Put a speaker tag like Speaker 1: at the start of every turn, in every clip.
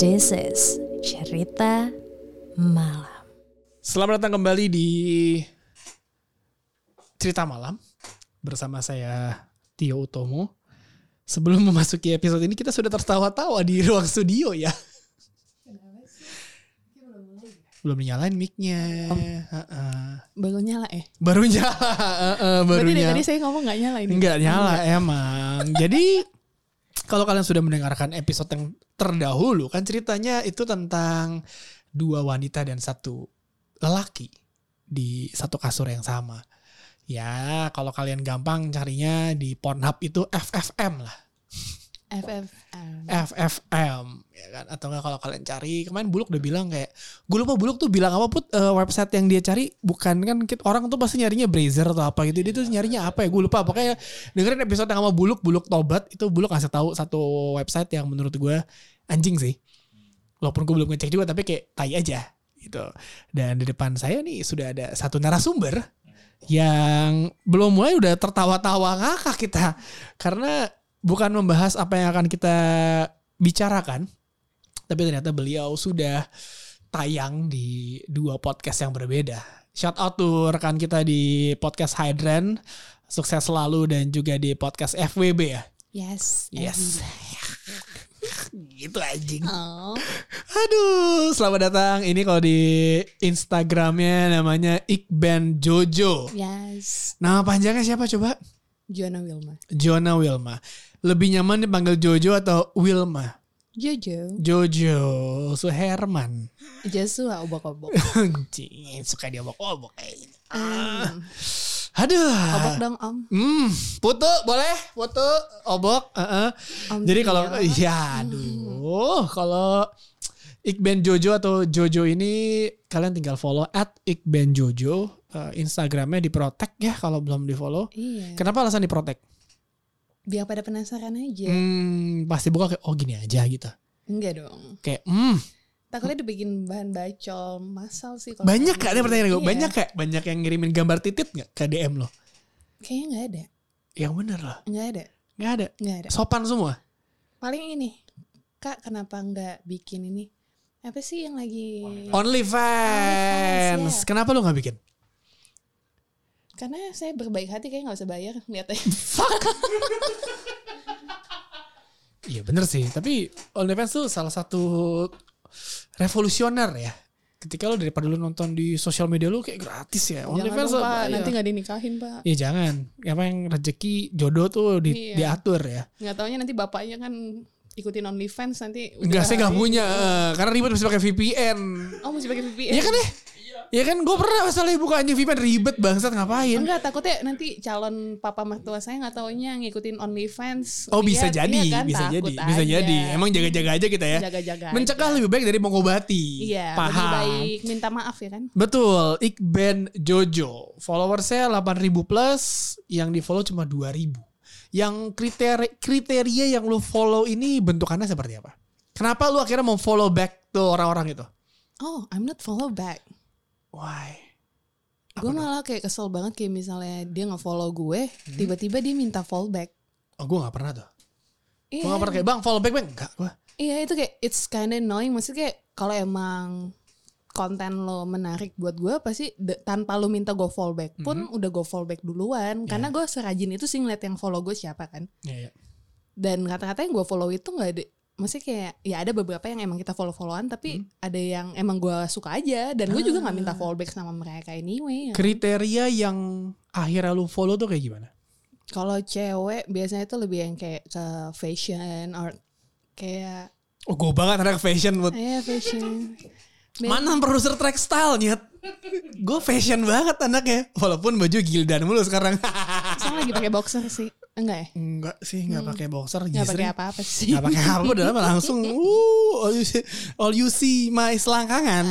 Speaker 1: This is cerita malam.
Speaker 2: Selamat datang kembali di Cerita Malam bersama saya Tio Utomo. Sebelum memasuki episode ini kita sudah tertawa-tawa di ruang studio ya. Belum nyalain mic-nya. Heeh.
Speaker 3: baru nyala ya?
Speaker 2: Baru nyala. heeh, baru
Speaker 3: Berarti dari
Speaker 2: nyala.
Speaker 3: tadi saya ngomong nggak nyala ini.
Speaker 2: Enggak nyala emang. Jadi kalau kalian sudah mendengarkan episode yang terdahulu kan ceritanya itu tentang dua wanita dan satu lelaki di satu kasur yang sama. Ya, kalau kalian gampang carinya di Pornhub itu FFM lah.
Speaker 3: FFM.
Speaker 2: FFM ya kan atau enggak kalau kalian cari kemarin Buluk udah bilang kayak gue lupa Buluk tuh bilang apa put eh, website yang dia cari bukan kan kit- orang tuh pasti nyarinya Brazzer atau apa gitu dia tuh nyarinya apa ya gue lupa pokoknya dengerin episode yang sama Buluk Buluk tobat itu Buluk ngasih tahu satu website yang menurut gue anjing sih walaupun gue belum ngecek juga tapi kayak tai aja gitu dan di depan saya nih sudah ada satu narasumber yang belum mulai udah tertawa-tawa ngakak kita karena bukan membahas apa yang akan kita bicarakan tapi ternyata beliau sudah tayang di dua podcast yang berbeda shout out to rekan kita di podcast Hydran sukses selalu dan juga di podcast FWB ya
Speaker 3: Yes.
Speaker 2: yes gitu anjing
Speaker 3: Oh.
Speaker 2: Aduh, selamat datang. Ini kalau di Instagramnya namanya Iqban Jojo.
Speaker 3: Yes.
Speaker 2: Nama panjangnya siapa coba?
Speaker 3: Joanna Wilma.
Speaker 2: Jona Wilma. Lebih nyaman dipanggil Jojo atau Wilma? Mm.
Speaker 3: Jojo.
Speaker 2: Jojo Suherman.
Speaker 3: Joshua obok-obok.
Speaker 2: Anjing, suka dia obok-obok.
Speaker 3: Um,
Speaker 2: Aduh.
Speaker 3: obok dong om.
Speaker 2: Hmm, foto boleh, foto obok. Heeh.
Speaker 3: Om
Speaker 2: Jadi kalau
Speaker 3: Tio.
Speaker 2: ya aduh, kalau Iqben Jojo atau Jojo ini kalian tinggal follow at Iqben Jojo Eh, Instagramnya diprotek ya kalau belum di follow.
Speaker 3: Iya.
Speaker 2: Kenapa alasan diprotek?
Speaker 3: Biar pada penasaran aja.
Speaker 2: Hmm, pasti buka kayak oh gini aja gitu.
Speaker 3: Enggak dong.
Speaker 2: Kayak hmm,
Speaker 3: Takutnya dibikin bahan bacol masal sih. kalau
Speaker 2: banyak
Speaker 3: kayak
Speaker 2: gak nih
Speaker 3: gitu.
Speaker 2: pertanyaan gue?
Speaker 3: Iya.
Speaker 2: Banyak gak? Banyak yang ngirimin gambar titit gak ke DM lo?
Speaker 3: Kayaknya nggak ada.
Speaker 2: Yang bener lah,
Speaker 3: Nggak ada.
Speaker 2: nggak ada.
Speaker 3: Nggak ada.
Speaker 2: Sopan semua.
Speaker 3: Paling ini. Kak kenapa nggak bikin ini? Apa sih yang lagi?
Speaker 2: OnlyFans.
Speaker 3: OnlyFans, ya.
Speaker 2: Kenapa lo nggak bikin?
Speaker 3: Karena saya berbaik hati kayak nggak usah bayar. Lihat aja.
Speaker 2: Iya bener sih, tapi OnlyFans tuh salah satu revolusioner ya. Ketika lo daripada lo nonton di sosial media lo kayak gratis ya.
Speaker 3: Jangan
Speaker 2: OnlyFans
Speaker 3: dong,
Speaker 2: apa
Speaker 3: Pak,
Speaker 2: ya.
Speaker 3: nanti nggak dinikahin pak.
Speaker 2: Ya jangan, apa yang rezeki jodoh tuh di-
Speaker 3: Iya.
Speaker 2: diatur ya.
Speaker 3: Nggak taunya nanti bapaknya kan ikutin OnlyFans nanti. udah
Speaker 2: Enggak, saya nggak
Speaker 3: hari-
Speaker 2: punya eh, karena ribet mesti pakai VPN.
Speaker 3: Oh mesti pakai VPN.
Speaker 2: Iya kan ya? Iya kan, gue pernah masalahnya buka anjing VPN ribet bangsat ngapain?
Speaker 3: Enggak takutnya nanti calon papa mertua saya nggak taunya ngikutin OnlyFans.
Speaker 2: Oh bisa
Speaker 3: Lihat,
Speaker 2: jadi,
Speaker 3: iya kan,
Speaker 2: bisa
Speaker 3: takut
Speaker 2: jadi, bisa
Speaker 3: aja.
Speaker 2: jadi. Emang jaga-jaga aja kita ya.
Speaker 3: Jaga-jaga
Speaker 2: Mencegah lebih baik dari mengobati.
Speaker 3: Iya. Lebih
Speaker 2: Paham.
Speaker 3: baik minta maaf ya kan.
Speaker 2: Betul, Iqben Jojo. Followersnya 8000 plus, yang di follow cuma 2000. Yang kriteria kriteria yang lu follow ini bentukannya seperti apa? Kenapa lu akhirnya mau follow back tuh orang-orang itu?
Speaker 3: Oh I'm not follow back.
Speaker 2: Why?
Speaker 3: Gue malah kayak kesel banget kayak misalnya dia nggak follow gue,
Speaker 2: Hmm?
Speaker 3: tiba-tiba dia minta follow back.
Speaker 2: Oh, gue gak pernah tuh. Gue
Speaker 3: Iya.
Speaker 2: gak pernah kayak, bang follow back, bang. Enggak, gue.
Speaker 3: Iya itu kayak it's kinda annoying Maksudnya kayak kalau emang konten lo menarik buat gue pasti de- tanpa lo minta go follow back pun udah go follow back duluan karena gue serajin itu sih ngeliat yang follow gue siapa kan
Speaker 2: Iya, iya.
Speaker 3: dan kata-kata yang gue follow itu nggak ada maksudnya kayak ya ada beberapa yang emang kita follow followan tapi ada yang emang gue suka aja dan gue juga nggak minta follow back sama mereka anyway
Speaker 2: Kriteria yang akhirnya lu follow tuh kayak gimana?
Speaker 3: kalau cewek biasanya itu lebih yang kayak ke fashion or kayak
Speaker 2: Oh, gue banget ada fashion buat
Speaker 3: ya fashion
Speaker 2: Mantan produser track style nyet. Gue fashion banget anaknya. Walaupun baju gildan mulu sekarang.
Speaker 3: sekarang lagi pakai boxer sih enggak ya
Speaker 2: Enggak sih, enggak pakai boxer
Speaker 3: nggak
Speaker 2: justru.
Speaker 3: pakai apa-apa sih
Speaker 2: Enggak pakai apa dalam langsung uh all you see, all you see my selangkangan.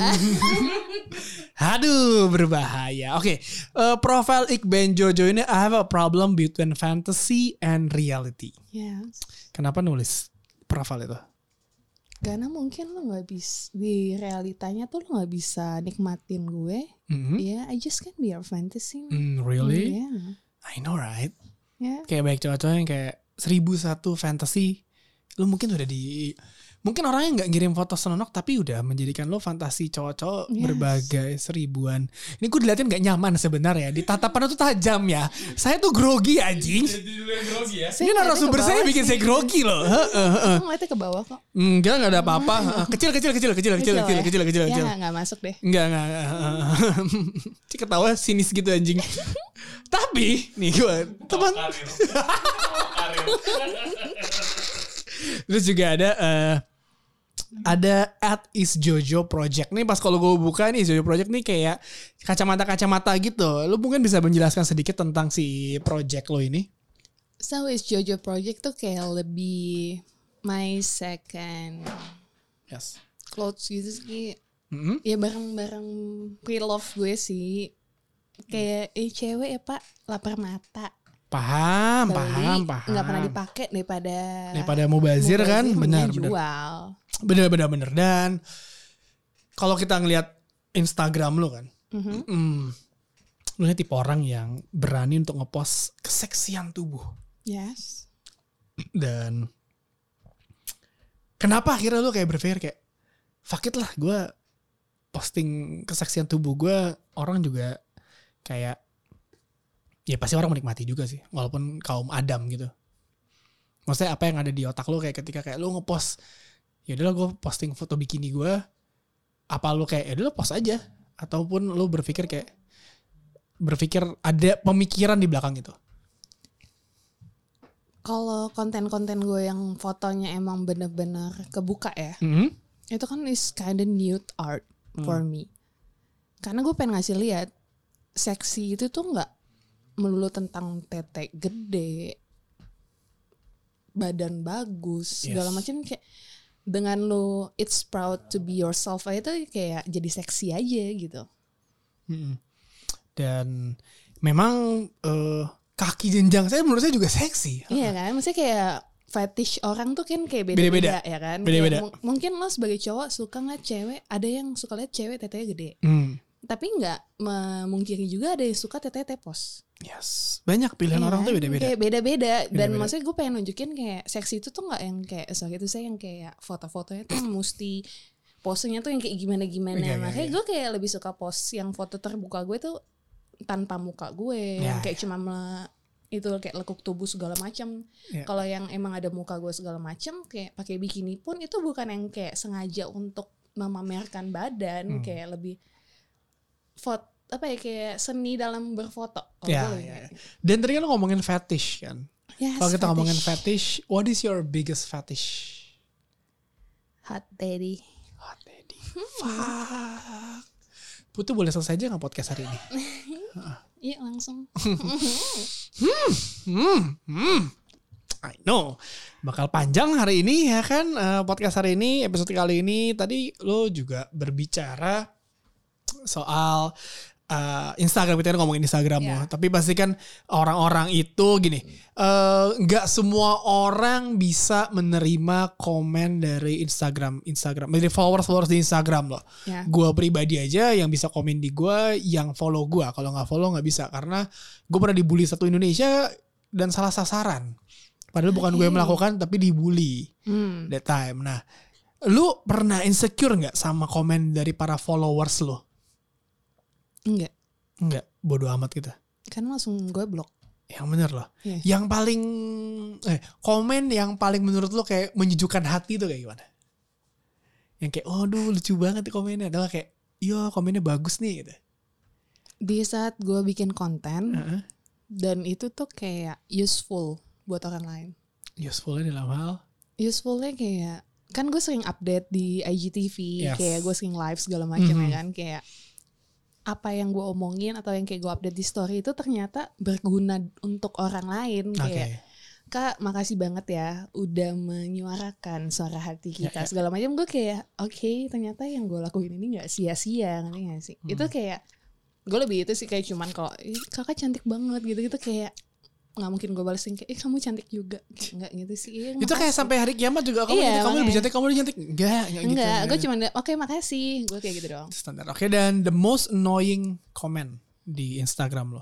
Speaker 2: Aduh, berbahaya. Oke, eh, profil Iqben Jojo ini I have a problem between fantasy and reality.
Speaker 3: ya
Speaker 2: Kenapa nulis profil itu?
Speaker 3: karena mungkin lo nggak bisa di realitanya tuh lo nggak bisa nikmatin gue
Speaker 2: Mhm.
Speaker 3: ya I just can be your fantasy
Speaker 2: Hmm,
Speaker 3: man.
Speaker 2: really?
Speaker 3: ya
Speaker 2: I know right.
Speaker 3: ya
Speaker 2: Kayak banyak cowok-cowok yang kayak 1001 fantasy lu mungkin udah di mungkin orangnya nggak ngirim foto senonok tapi udah menjadikan lo fantasi cowok-cowok
Speaker 3: Yes.
Speaker 2: berbagai seribuan. Ini gue diliatin nggak nyaman sebenarnya. Di tatapan itu tajam ya. Saya tuh grogi anjing.
Speaker 4: Jadi dulu yang grogi ya.
Speaker 2: Ini narasumber saya bikin saya grogi loh. Heeh, heeh.
Speaker 3: Aku ngeliatnya ke bawah kok.
Speaker 2: Enggak, enggak ada apa-apa. Kecil, kecil, kecil, kecil, kecil, kecil,
Speaker 3: Nah. ya.
Speaker 2: kecil, kecil,
Speaker 3: Ya
Speaker 2: kecil.
Speaker 3: nggak- nggak masuk deh.
Speaker 2: Enggak, enggak. enggak. Cik ketawa sinis gitu anjing. Tapi, nih gue, teman.
Speaker 4: Karir. Karir.
Speaker 2: Terus juga ada, eh, ada at is Jojo Project nih pas kalau gue buka nih Jojo Project nih kayak kacamata-kacamata gitu. Lu mungkin bisa menjelaskan sedikit tentang si project lo ini.
Speaker 3: So is Jojo Project tuh kayak lebih my second
Speaker 2: Yes.
Speaker 3: clothes gitu sih.
Speaker 2: Mm-mm.
Speaker 3: Ya barang-barang pre-love gue sih. Kayak eh cewek ya pak lapar mata.
Speaker 2: Paham,
Speaker 3: Beli,
Speaker 2: paham, paham.
Speaker 3: Nggak pernah dipakai daripada
Speaker 2: Daripada mubazir kan,
Speaker 3: mending
Speaker 2: benar, benar.
Speaker 3: Jual.
Speaker 2: Bener bener bener dan kalau kita ngelihat Instagram lu kan,
Speaker 3: Mhm.
Speaker 2: mm, lu ini tipe orang yang berani untuk ngepost keseksian tubuh
Speaker 3: Yes.
Speaker 2: dan kenapa akhirnya lu kayak berpikir kayak fuck it lah gue posting keseksian tubuh gue orang juga kayak ya pasti orang menikmati juga sih walaupun kaum Adam gitu maksudnya apa yang ada di otak lu kayak ketika kayak lu ngepost ya udahlah gue posting foto bikini gue apa lu kayak ya udah lu post aja ataupun lu berpikir kayak berpikir ada pemikiran di belakang gitu
Speaker 3: Kalau konten-konten gue yang fotonya emang bener-bener kebuka ya, itu kan is kinda nude art
Speaker 2: Hmm.
Speaker 3: for me. Karena gue pengen ngasih lihat seksi itu tuh nggak melulu tentang tete gede, badan bagus,
Speaker 2: Yes.
Speaker 3: segala macam kayak dengan lo it's proud to be yourself aja itu kayak jadi seksi aja gitu.
Speaker 2: Mm-mm. Dan memang eh, kaki jenjang saya menurut saya juga seksi.
Speaker 3: Iya kan, maksudnya kayak fetish orang tuh kan kayak
Speaker 2: Beda-beda.
Speaker 3: beda-beda ya kan. Kayak
Speaker 2: Beda-beda.
Speaker 3: mu- mungkin lo sebagai cowok suka nggak cewek, ada yang suka lihat cewek tetenya gede,
Speaker 2: Hmm.
Speaker 3: tapi nggak memungkiri juga ada yang suka tetenya tepos.
Speaker 2: Yes. Banyak pilihan
Speaker 3: Iya
Speaker 2: orang tuh
Speaker 3: kan?
Speaker 2: beda-beda.
Speaker 3: Kayak beda-beda. Dan
Speaker 2: Beda-beda.
Speaker 3: maksudnya gue pengen nunjukin kayak seksi itu tuh nggak yang kayak sorry itu saya yang kayak foto-fotonya tuh mesti posenya tuh yang kayak gimana-gimana.
Speaker 2: Iya, iya,
Speaker 3: Makanya
Speaker 2: iya.
Speaker 3: gue kayak lebih suka pose yang foto terbuka gue tuh tanpa muka gue,
Speaker 2: Iya,
Speaker 3: yang kayak cuma mele- itu kayak lekuk tubuh segala macam.
Speaker 2: Iya.
Speaker 3: Kalau yang emang ada muka gue segala macam kayak pakai bikini pun itu bukan yang kayak sengaja untuk memamerkan
Speaker 2: Hmm.
Speaker 3: badan, kayak lebih foto apa ya kayak seni dalam berfoto. Kalau
Speaker 2: Iya,
Speaker 3: gue
Speaker 2: iya,
Speaker 3: kayak-
Speaker 2: Dan tadi kan lo ngomongin fetish kan.
Speaker 3: Yes,
Speaker 2: Kalau kita
Speaker 3: fetish.
Speaker 2: ngomongin fetish, what is your biggest fetish?
Speaker 3: hot daddy.
Speaker 2: Hot daddy.
Speaker 3: Hmm.
Speaker 2: Fuck. Putu boleh selesai aja nggak podcast hari ini?
Speaker 3: Iya langsung.
Speaker 2: Hmm, hmm. I know. Bakal panjang hari ini ya kan eh, podcast hari ini episode kali ini tadi lo juga berbicara soal eh, Instagram kita kan ngomongin Instagram lo.
Speaker 3: Iya.
Speaker 2: Tapi pastikan orang-orang itu gini, eh, nggak semua orang bisa menerima komen dari Instagram, Instagram, dari followers-followers di Instagram loh
Speaker 3: Ya.
Speaker 2: gue pribadi aja yang bisa komen di gue yang follow gue kalau nggak follow nggak bisa karena gue pernah dibully satu Indonesia dan salah sasaran padahal bukan gue yang
Speaker 3: Oke.
Speaker 2: melakukan tapi dibully
Speaker 3: Hmm.
Speaker 2: that time nah lu pernah insecure nggak sama komen dari para followers lo
Speaker 3: Enggak.
Speaker 2: nggak bodoh amat gitu
Speaker 3: Kan langsung gue blok.
Speaker 2: yang bener loh
Speaker 3: Iya.
Speaker 2: yang paling eh komen yang paling menurut lo kayak menyejukkan hati tuh kayak gimana yang kayak oh lucu banget nih komennya adalah kayak yo komennya bagus nih gitu
Speaker 3: Di saat gue bikin konten
Speaker 2: Heeh.
Speaker 3: dan itu tuh kayak useful buat orang lain.
Speaker 2: usefulnya ya dalam hal
Speaker 3: Usefulnya kayak kan gue sering update di IGTV,
Speaker 2: Yes.
Speaker 3: kayak gue sering live segala macam ya
Speaker 2: Mhm.
Speaker 3: kan kayak apa yang gue omongin atau yang kayak gue update di story itu ternyata berguna untuk orang lain
Speaker 2: oke
Speaker 3: kayak Kak, makasih banget ya udah menyuarakan suara hati
Speaker 2: Ya, ya.
Speaker 3: kita segala macam. Gue kayak, oke, ternyata yang gue lakuin ini nggak sia-sia, ngerti nggak sih?
Speaker 2: Hmm.
Speaker 3: Itu kayak gue lebih itu sih kayak cuman kalau "Ih, kakak cantik banget gitu-gitu kayak nggak mungkin gue balesin kayak, eh kamu cantik juga, kayak nggak gitu sih? Iya,
Speaker 2: itu kayak
Speaker 3: makasih.
Speaker 2: sampai hari kiamat juga kamu
Speaker 3: Iya,
Speaker 2: cantik, kamu lebih
Speaker 3: makanya.
Speaker 2: cantik kamu lebih cantik enggak enggak gitu
Speaker 3: enggak, gue cuman oke makasih, gue kayak gitu doang.
Speaker 2: standar oke dan the most annoying comment di Instagram lo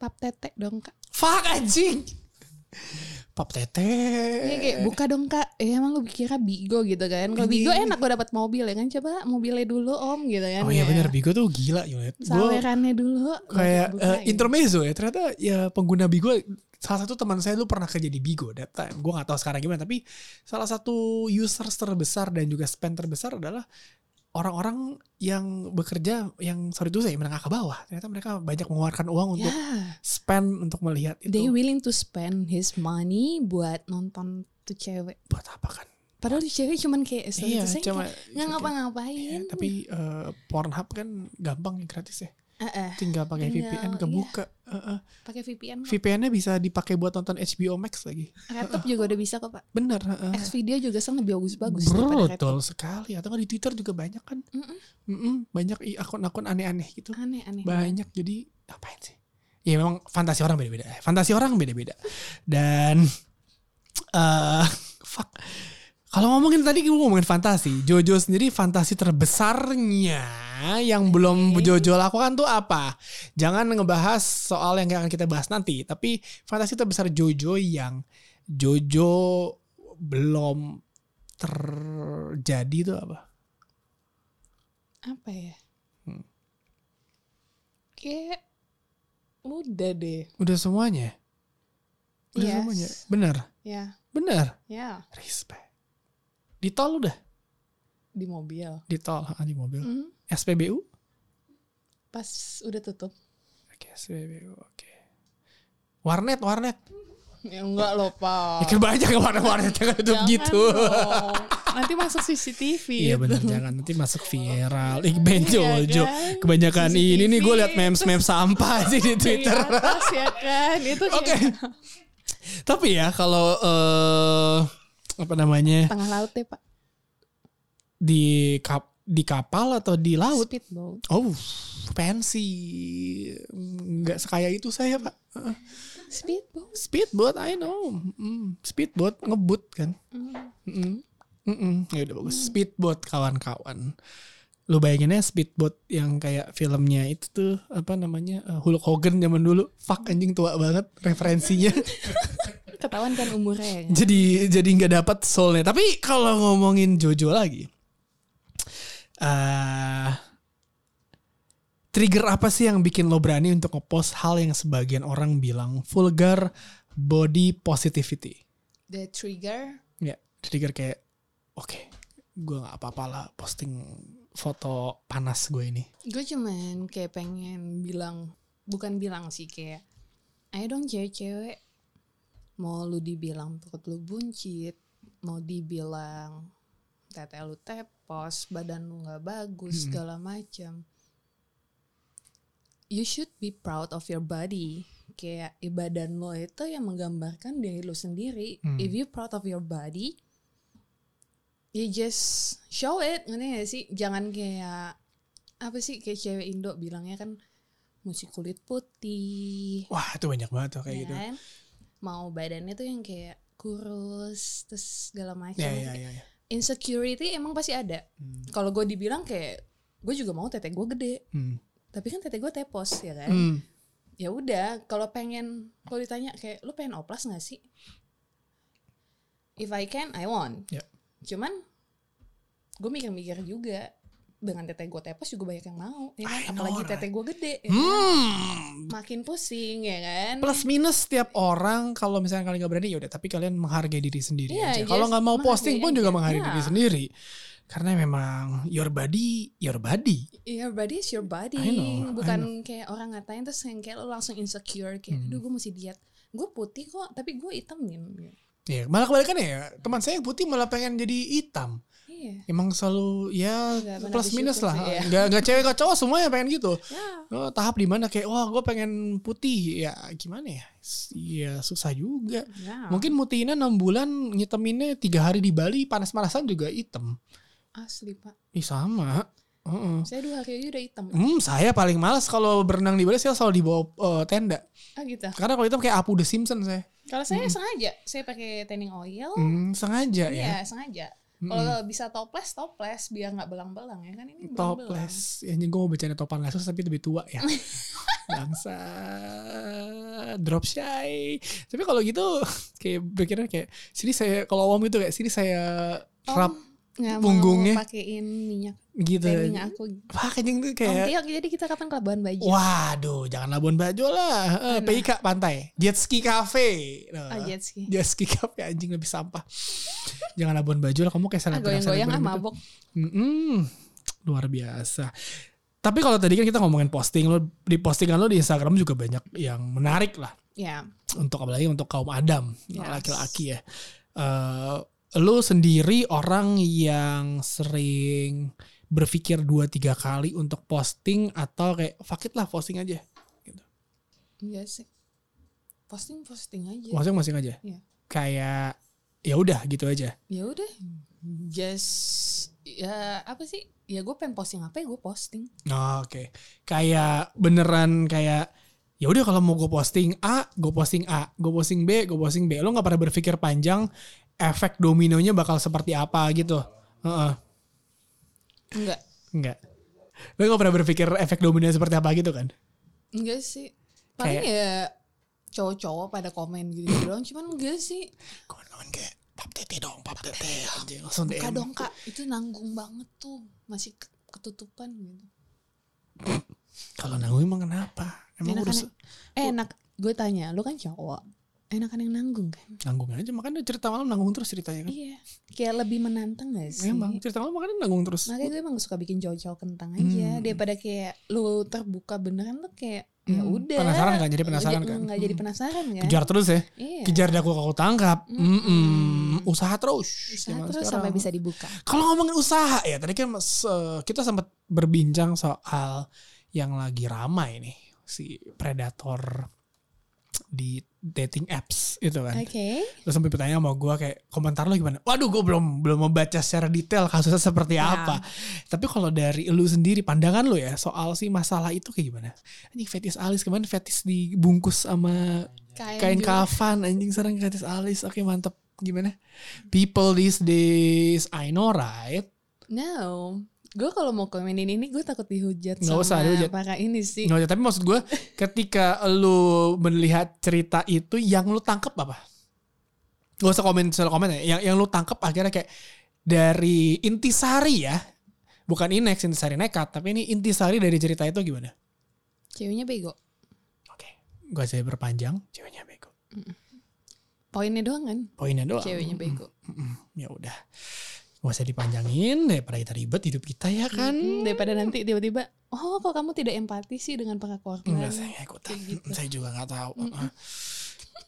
Speaker 3: Pap tetek dong kak.
Speaker 2: fuck anjing Pap tete.
Speaker 3: Iya
Speaker 2: Eh.
Speaker 3: kayak buka dong kak, ya emang lu kira Bigo gitu kan Kalau Bigo
Speaker 2: Ini-
Speaker 3: enak gue dapat mobil ya kan Coba mobilnya dulu om gitu kan
Speaker 2: Iya. Oh iya
Speaker 3: ya.
Speaker 2: benar Bigo tuh gila Yulet. Gue
Speaker 3: Sawerannya dulu
Speaker 2: kayak
Speaker 3: baru
Speaker 2: eh,
Speaker 3: bukain.
Speaker 2: intermezzo ya ternyata ya pengguna Bigo salah satu teman saya dulu pernah kerja di Bigo that time gue nggak tahu sekarang gimana tapi salah satu users terbesar dan juga spend terbesar adalah orang-orang yang bekerja yang sorry itu saya menengah ke bawah ternyata mereka banyak mengeluarkan uang untuk
Speaker 3: Ya,
Speaker 2: spend untuk melihat
Speaker 3: they
Speaker 2: itu
Speaker 3: willing to spend his money buat nonton tuh cewek
Speaker 2: buat apa kan
Speaker 3: Padahal tuh cewek cuman kayak
Speaker 2: iya
Speaker 3: statusnya
Speaker 2: cuma
Speaker 3: kayak nggak ngapa-ngapain
Speaker 2: Iya, tapi eh, Pornhub kan gampang ya gratis ya
Speaker 3: Eh, eh,
Speaker 2: tinggal pakai
Speaker 3: Tinggal,
Speaker 2: VPN
Speaker 3: iya.
Speaker 2: kebuka Heeh.
Speaker 3: pakai VPN kok.
Speaker 2: VPN-nya bisa dipakai buat nonton HBO Max lagi.
Speaker 3: Laptop juga udah bisa kok pak
Speaker 2: Bener. heeh.
Speaker 3: Xvideo juga sekarang lebih bagus-bagus daripada laptop.
Speaker 2: Brutal sekali. Atau nggak di Twitter juga banyak kan?
Speaker 3: Mm-mm.
Speaker 2: Mm-mm, banyak i- akun-akun aneh-aneh gitu.
Speaker 3: Aneh-aneh
Speaker 2: Banyak. Jadi ngapain sih? Ya memang fantasi orang beda-beda. Eh, Fantasi orang beda-beda. Dan eh fuck. Kalau ngomongin tadi gue ngomongin fantasi, Jojo sendiri fantasi terbesarnya yang belum Jojo lakukan tuh apa? Jangan ngebahas soal yang akan kita bahas nanti, tapi fantasi terbesar Jojo yang Jojo belum terjadi itu apa?
Speaker 3: apa ya
Speaker 2: Hmm.
Speaker 3: kayak udah deh
Speaker 2: Udah semuanya. Udah
Speaker 3: Yes.
Speaker 2: semuanya. Bener.
Speaker 3: ya
Speaker 2: Bener.
Speaker 3: ya
Speaker 2: Respect. Di tol udah.
Speaker 3: di mobil
Speaker 2: Di tol, ah, di mobil.
Speaker 3: Mhm.
Speaker 2: SPBU?
Speaker 3: pas udah tutup
Speaker 2: Oke, SPBU. Oke. Warnet, warnet.
Speaker 3: ya enggak loh
Speaker 2: Ya
Speaker 3: pak
Speaker 2: kan banyak yang warnet-warnet yang tutup
Speaker 3: Jangan
Speaker 2: gitu.
Speaker 3: dong. nanti masuk CCTV
Speaker 2: Iya
Speaker 3: itu.
Speaker 2: bener jangan nanti masuk viral. Ih Ben
Speaker 3: Iya,
Speaker 2: Jojo.
Speaker 3: kan?
Speaker 2: Kebanyakan
Speaker 3: CCTV.
Speaker 2: ini nih gue liat memes-memes sampah sih di
Speaker 3: Dari
Speaker 2: Twitter.
Speaker 3: atas ya kan itu kayak
Speaker 2: Oke. Tapi ya kalau eh apa namanya
Speaker 3: tengah laut ya pak
Speaker 2: di kap di kapal atau di laut?
Speaker 3: speedboat
Speaker 2: Oh, fancy. Nggak sekaya itu saya, Pak. Heeh.
Speaker 3: speedboat
Speaker 2: Speedboat, I know. Mm, speedboat ngebut kan. Mm. Mm-mm. Ya udah bagus. Speedboat kawan-kawan. Lu bayanginnya speedboat yang kayak filmnya itu tuh apa namanya eh, Hulk Hogan zaman dulu. Fuck anjing tua banget referensinya.
Speaker 3: ketahuan kan umurnya ya kan?
Speaker 2: jadi jadi nggak dapat soulnya. Tapi kalau ngomongin Jojo lagi, eh trigger apa sih yang bikin lo berani untuk ngepost hal yang sebagian orang bilang vulgar body positivity?
Speaker 3: the trigger
Speaker 2: Ya, trigger kayak oke, gue nggak apa-apa lah posting foto panas gue ini.
Speaker 3: gue cuman kayak pengen bilang bukan bilang sih kayak ayo dong cewek-cewek mau lu dibilang perut lu buncit mau dibilang tete lu tepos badan lu nggak bagus
Speaker 2: Mm-mm.
Speaker 3: segala macam you should be proud of your body kayak i- badan lo itu yang menggambarkan diri lu sendiri
Speaker 2: Hmm.
Speaker 3: if you proud of your body you just show it ngerti gak sih jangan kayak apa sih kayak cewek Indo bilangnya kan mesti kulit putih
Speaker 2: Wah itu banyak banget tuh kayak
Speaker 3: ya
Speaker 2: gitu.
Speaker 3: kan mau badannya tuh yang kayak kurus terus segala macam
Speaker 2: Ya ya ya. ya.
Speaker 3: insecurity emang pasti ada
Speaker 2: Hmm.
Speaker 3: kalau gue dibilang kayak gue juga mau tete gue gede
Speaker 2: Hmm.
Speaker 3: tapi kan tete gue tepos ya kan
Speaker 2: Hmm.
Speaker 3: ya udah kalau pengen kalau ditanya kayak lu pengen oplas nggak sih if I can I want
Speaker 2: Ya.
Speaker 3: cuman gue mikir-mikir juga dengan tete gue tepos juga banyak yang mau
Speaker 2: I
Speaker 3: ya kan?
Speaker 2: know,
Speaker 3: apalagi
Speaker 2: right?
Speaker 3: tete gue gede ya kan?
Speaker 2: Hmm.
Speaker 3: makin pusing ya kan
Speaker 2: plus minus setiap orang kalau misalnya kalian nggak berani ya udah tapi kalian menghargai diri sendiri
Speaker 3: Iya,
Speaker 2: aja.
Speaker 3: just
Speaker 2: Kalau nggak mau posting
Speaker 3: menghargai
Speaker 2: pun juga
Speaker 3: aja.
Speaker 2: menghargai
Speaker 3: Iya.
Speaker 2: diri sendiri. Karena memang your body, your body.
Speaker 3: your body is your body
Speaker 2: I know, I
Speaker 3: bukan kayak orang ngatain terus yang kayak lo langsung insecure kayak
Speaker 2: Hmm.
Speaker 3: aduh gue mesti diet gue putih kok tapi gue hitam nih
Speaker 2: Ya, malah kebalikan ya. Teman saya yang putih malah pengen jadi hitam.
Speaker 3: iya
Speaker 2: Emang selalu ya
Speaker 3: Nggak pernah
Speaker 2: plus minus
Speaker 3: bersyukur
Speaker 2: lah.
Speaker 3: sih, ya.
Speaker 2: Nggak nggak cewek nggak cowok semuanya pengen gitu.
Speaker 3: ya
Speaker 2: Oh, tahap di mana kayak wah gue pengen putih ya gimana ya? Ya susah juga.
Speaker 3: ya
Speaker 2: Mungkin mutihinnya 6 bulan, nyiteminnya tiga hari di Bali panas-panasan juga hitam.
Speaker 3: asli pak
Speaker 2: Ih sama. Heeh.
Speaker 3: saya dua hari aja udah hitam
Speaker 2: Hmm, saya paling malas kalau berenang di Bali saya selalu di bawah eh, tenda.
Speaker 3: ah gitu
Speaker 2: Karena kalau itu kayak Apu The Simpson saya.
Speaker 3: kalau saya sengaja saya pakai tanning
Speaker 2: ya.
Speaker 3: oil
Speaker 2: Hmm, sengaja Hmm.
Speaker 3: Iya, sengaja. Kalau bisa toples, toples biar nggak belang-belang ya kan ini belang-belang.
Speaker 2: Toples. Ya, gue mau bacain topan Lasus tapi lebih tua ya. Bangsa drop shy. Tapi kalau gitu kayak berkira kayak sini saya kalau awam itu kayak sini saya rap
Speaker 3: Nggak
Speaker 2: Punggungnya.
Speaker 3: mau pakein minyak
Speaker 2: gitu.
Speaker 3: kayak minyak aku.
Speaker 2: Wah kencing tuh
Speaker 3: Om
Speaker 2: kayak
Speaker 3: Tio, jadi kita kapan ke Labuan Bajo?
Speaker 2: Waduh, jangan Labuan Bajo lah. Eh, PIK pantai, Jet Ski Cafe. Nah,
Speaker 3: Ah, jet ski.
Speaker 2: Jet Ski Cafe anjing lebih sampah. jangan Labuan Bajo lah, kamu kayak
Speaker 3: Ah,
Speaker 2: selebgram.
Speaker 3: goyang-goyang ah
Speaker 2: selebgram gitu.
Speaker 3: mabok.
Speaker 2: Mm-mm. luar biasa. Tapi kalau tadi kan kita ngomongin posting lo di postingan lo di Instagram juga banyak yang menarik lah
Speaker 3: Ya,
Speaker 2: untuk apalagi untuk kaum Adam
Speaker 3: Yes.
Speaker 2: laki-laki ya. Eh lo sendiri orang yang sering berpikir dua tiga kali untuk posting atau kayak fuck it lah posting aja.
Speaker 3: enggak Iya sih. Posting-posting aja.
Speaker 2: Maksudnya masing aja.
Speaker 3: Iya.
Speaker 2: Kayak ya udah gitu aja.
Speaker 3: Ya udah. Just ya apa sih? Ya gue pengen posting apa ya gue posting.
Speaker 2: Oh, Oke. Kayak beneran kayak ya udah kalau mau gue posting A, gue posting A, gue posting B, gue posting B. Lo nggak pernah berpikir panjang efek dominonya bakal seperti apa gitu. Heeh.
Speaker 3: Enggak.
Speaker 2: Enggak. Lo nggak pernah berpikir efek dominonya seperti apa gitu kan?
Speaker 3: Enggak sih. Paling ya cowok-cowok pada komen gitu doang cuman enggak sih.
Speaker 2: Kawan-kawan kayak pap tete dong, pap tete. Anjing, langsung DM.
Speaker 3: Kak dong kak, itu nanggung banget tuh. Masih ke- ketutupan gitu.
Speaker 2: Kalau nanggung emang kenapa? Emang
Speaker 3: Enakan
Speaker 2: urus
Speaker 3: Eh, enak. Gue tanya, lu kan cowok. Enakan yang nanggung kan?
Speaker 2: nanggung aja. Makanya cerita malam nanggung terus ceritanya kan.
Speaker 3: Iya. Kayak lebih menantang gak sih?
Speaker 2: Emang cerita malam Iya makanya nanggung terus.
Speaker 3: Makanya gue emang suka bikin cowok-cowok kentang aja
Speaker 2: Hmm.
Speaker 3: daripada kayak lu terbuka beneran tuh kayak ya
Speaker 2: Hmm.
Speaker 3: udah.
Speaker 2: Penasaran kan? Jadi penasaran kan?
Speaker 3: Enggak jadi penasaran kan?
Speaker 2: Kejar terus ya.
Speaker 3: Iya.
Speaker 2: kejar daku kau tangkap
Speaker 3: Mm-mm.
Speaker 2: Mm-mm. usaha terus
Speaker 3: Usaha
Speaker 2: zaman
Speaker 3: Nah, terus
Speaker 2: sekarang.
Speaker 3: sampai bisa dibuka.
Speaker 2: kalau ngomongin usaha ya tadi kan mas, eh, kita sempat berbincang soal yang lagi ramai nih si predator di dating apps itu kan
Speaker 3: Oke.
Speaker 2: Terus sampai bertanya sama gue kayak komentar lo gimana? Waduh gue belum belum membaca secara detail kasusnya seperti
Speaker 3: Ya.
Speaker 2: apa. Tapi kalau dari lu sendiri pandangan lu ya soal si masalah itu kayak gimana? Anjing fetis alis kemarin fetis dibungkus sama
Speaker 3: Kain
Speaker 2: kain
Speaker 3: juga.
Speaker 2: kafan anjing sarang gratis alis oke mantep gimana people these days I know right
Speaker 3: No. Gue kalau mau komenin ini gue takut dihujat
Speaker 2: Nggak
Speaker 3: sama
Speaker 2: usah dihujat.
Speaker 3: para ini sih.
Speaker 2: Nggak, tapi maksud gue ketika lu melihat cerita itu yang lu tangkep apa gak usah komen soal komen ya yang yang lu tangkep akhirnya kayak dari intisari ya bukan inex intisari nekat tapi ini intisari dari cerita itu gimana
Speaker 3: Ceweknya bego.
Speaker 2: oke gue saya berpanjang ceweknya bego
Speaker 3: Poinnya doang kan?
Speaker 2: poinnya doang
Speaker 3: Ceweknya bego.
Speaker 2: ya udah gak usah dipanjangin daripada kita ribet hidup kita ya kan
Speaker 3: Hmm, Daripada nanti tiba-tiba, oh kok kamu tidak empati sih dengan para korban.
Speaker 2: Enggak, saya nggak ikutan.
Speaker 3: gitu.
Speaker 2: Saya juga nggak tahu. Uh-uh.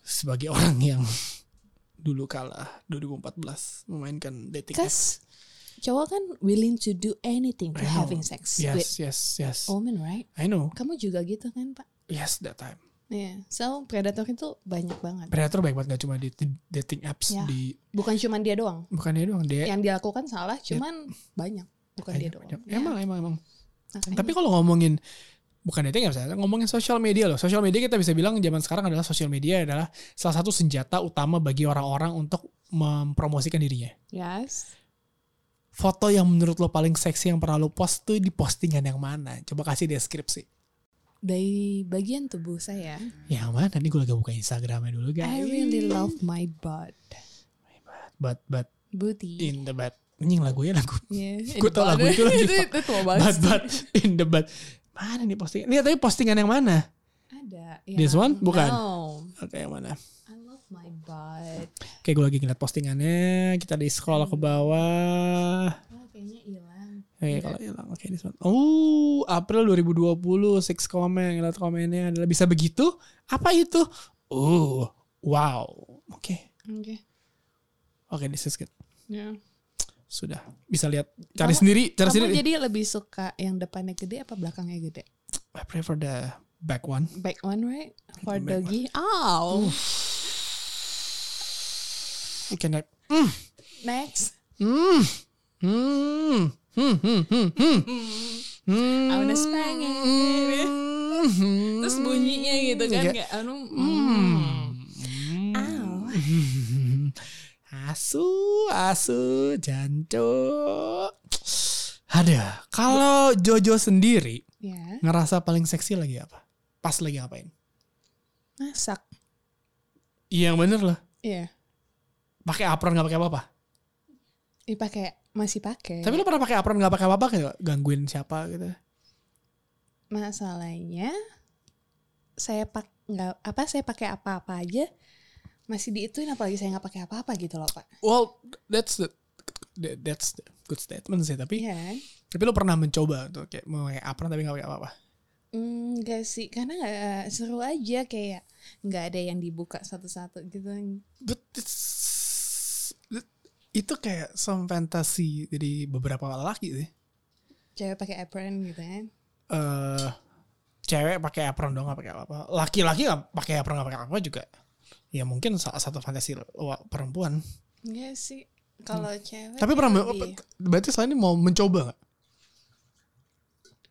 Speaker 2: Sebagai orang yang dulu kalah 2014 memainkan dating
Speaker 3: Kas, cowok kan willing to do anything to
Speaker 2: I know.
Speaker 3: having sex
Speaker 2: apps.
Speaker 3: with
Speaker 2: Yes, yes, yes.
Speaker 3: woman, right?
Speaker 2: I know.
Speaker 3: Kamu juga gitu kan, Pak?
Speaker 2: Yes, that time.
Speaker 3: Iya. So, predator itu banyak banget.
Speaker 2: Predator baik banget gak cuma di di dating apps
Speaker 3: Ya.
Speaker 2: di
Speaker 3: Bukan cuman dia doang.
Speaker 2: bukannya doang dia.
Speaker 3: Yang dilakukan salah, cuman banyak. Bukan
Speaker 2: Ya. banyak,
Speaker 3: dia doang.
Speaker 2: banyak.
Speaker 3: Iya,
Speaker 2: Emang, emang, emang.
Speaker 3: makanya.
Speaker 2: Tapi kalau ngomongin bukan dating apps, ya, ngomongin sosial media loh. Sosial media kita bisa bilang zaman sekarang adalah sosial media adalah salah satu senjata utama bagi orang-orang untuk mempromosikan dirinya.
Speaker 3: Yes.
Speaker 2: foto yang menurut lo paling seksi yang pernah lo post tuh di postingan yang mana? Coba kasih deskripsi.
Speaker 3: Dari bagian tubuh saya,
Speaker 2: Yang mana? Nih gue lagi buka Instagramnya dulu guys.
Speaker 3: I really love my butt.
Speaker 2: But but
Speaker 3: Booty.
Speaker 2: in the butt. Anjing lagunya lagu.
Speaker 3: Yeah.
Speaker 2: Gua tau lagu itu lagi, Pak.
Speaker 3: itu tua
Speaker 2: But
Speaker 3: banget.
Speaker 2: but in the butt. Mana nih postingan? Lihat tapi postingan yang mana?
Speaker 3: Ada.
Speaker 2: This one?
Speaker 3: yang-
Speaker 2: Bukan.
Speaker 3: No.
Speaker 2: Oke yang mana?
Speaker 3: I love my butt.
Speaker 2: Oke gue lagi ngeliat postingannya. Kita di scroll ke bawah.
Speaker 3: Oh, kayaknya hilang.
Speaker 2: Oke kalau hilang. Oke this one. Oh April 2020. Six comment. Lihat komennya adalah bisa begitu? Apa itu? Oh wow. Oke.
Speaker 3: Oke.
Speaker 2: Oke this is good.
Speaker 3: Ya.
Speaker 2: sudah bisa lihat cari
Speaker 3: Kamu-
Speaker 2: sendiri cari
Speaker 3: Kamu
Speaker 2: sendiri
Speaker 3: jadi lebih suka yang depannya gede apa belakangnya gede?
Speaker 2: I prefer the back one
Speaker 3: Back one right? For
Speaker 2: Back one.
Speaker 3: doggy. Oh.
Speaker 2: okay nah.
Speaker 3: Next.
Speaker 2: hmm hmm hmm hmm hmm hmm hmm
Speaker 3: I wanna spank it.
Speaker 2: Hmm.
Speaker 3: Terus bunyinya gitu kan
Speaker 2: Iya.
Speaker 3: kayak anu.
Speaker 2: Hmm.
Speaker 3: Ow.
Speaker 2: Hmm. Asu, asu, jancu. Ada. Kalau Jojo sendiri
Speaker 3: Ya,
Speaker 2: ngerasa paling seksi lagi apa? Pas lagi ngapain?
Speaker 3: masak.
Speaker 2: Iya yang bener lah.
Speaker 3: Iya.
Speaker 2: Pakai apron nggak pakai apa-apa.
Speaker 3: Dipakai masih pakai.
Speaker 2: Tapi lu pernah pakai apron nggak pakai apa-apa kayak gangguin siapa gitu?
Speaker 3: masalahnya saya pak nggak apa saya pakai apa-apa aja masih diituin apalagi saya nggak pakai apa-apa gitu loh pak.
Speaker 2: Well, that's the that- that's the good statement sih. Tapi
Speaker 3: Iya. kan?
Speaker 2: tapi lu pernah mencoba untuk kayak mau pakai apron tapi nggak pakai apa-apa.
Speaker 3: Hmm, nggak sih karena nggak eh, seru aja kayak nggak ada yang dibuka satu-satu gitu.
Speaker 2: But it's- that- itu kayak some fantasy dari beberapa laki sih.
Speaker 3: Cewek pakai apron gitu kan.
Speaker 2: eh cewek pakai apron dong nggak pakai apa-apa. Laki-laki nggak pakai apron nggak pakai apa-apa juga. Ya mungkin salah satu fantasi lo- perempuan.
Speaker 3: Enggak sih. Kalau cewek
Speaker 2: Tapi pernah
Speaker 3: lebih-
Speaker 2: berarti selain ini mau mencoba nggak?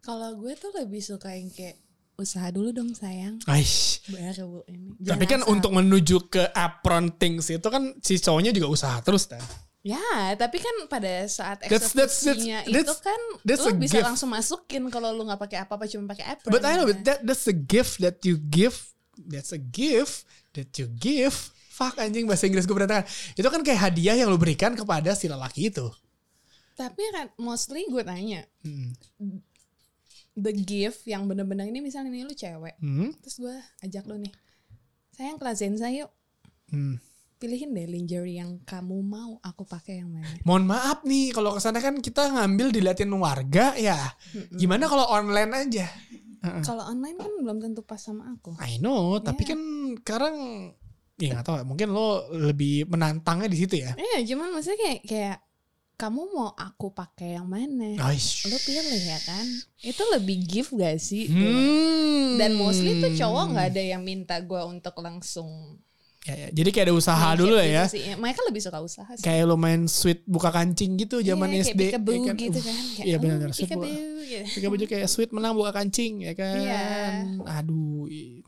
Speaker 3: Kalau gue tuh lebih suka yang kayak usaha dulu dong sayang
Speaker 2: Aish.
Speaker 3: baru ini.
Speaker 2: Tapi kan
Speaker 3: Jangan
Speaker 2: untuk menuju ke apron things itu kan si cowoknya juga usaha terus kan.
Speaker 3: Ya, tapi kan pada saat
Speaker 2: That's- that's- that's-
Speaker 3: eksekusinya itu
Speaker 2: that's-
Speaker 3: kan
Speaker 2: that's
Speaker 3: lu
Speaker 2: a
Speaker 3: bisa
Speaker 2: gift.
Speaker 3: langsung masukin kalau lu nggak pakai apa-apa cuma pakai apron.
Speaker 2: But I know but that that's a gift that you give. That's a gift that you give. Fuck anjing bahasa Inggris gue berantakan. Itu kan kayak hadiah yang lo berikan kepada si lelaki itu.
Speaker 3: Tapi kan mostly gue tanya,
Speaker 2: Hmm.
Speaker 3: the gift yang bener-bener ini misalnya ini lu cewek,
Speaker 2: Hmm.
Speaker 3: terus gue ajak lu nih. Sayang kelas Zenza yuk,
Speaker 2: Hmm.
Speaker 3: pilihin deh lingerie yang kamu mau aku pakai yang mana.
Speaker 2: mohon maaf nih kalau kesana kan kita ngambil diliatin warga ya gimana kalau online aja
Speaker 3: Kalau online kan belum tentu pas sama aku.
Speaker 2: I know tapi
Speaker 3: Iya.
Speaker 2: kan sekarang ya nggak tahu ya, mungkin lo lebih menantangnya di situ ya
Speaker 3: Iya, cuman maksudnya kayak kayak kamu mau aku pakai yang mana?
Speaker 2: Aish.
Speaker 3: Iya. Lu pilih ya kan? Itu lebih gift gak sih?
Speaker 2: Hmm.
Speaker 3: ya? dan mostly tuh cowok nggak ada yang minta gue untuk langsung
Speaker 2: ya, ya. jadi kayak ada usaha dulu lah ya
Speaker 3: gitu sih. mereka lebih suka usaha sih
Speaker 2: kayak lo main sweet buka kancing gitu zaman SD
Speaker 3: Iya, kayak peekaboo
Speaker 2: ya kan?
Speaker 3: gitu
Speaker 2: Uff,
Speaker 3: kan Kayak,
Speaker 2: iya
Speaker 3: oh,
Speaker 2: benar sweet buka
Speaker 3: peekaboo, gitu.
Speaker 2: peekaboo juga kayak sweet menang buka kancing ya kan
Speaker 3: Iya.
Speaker 2: aduh i-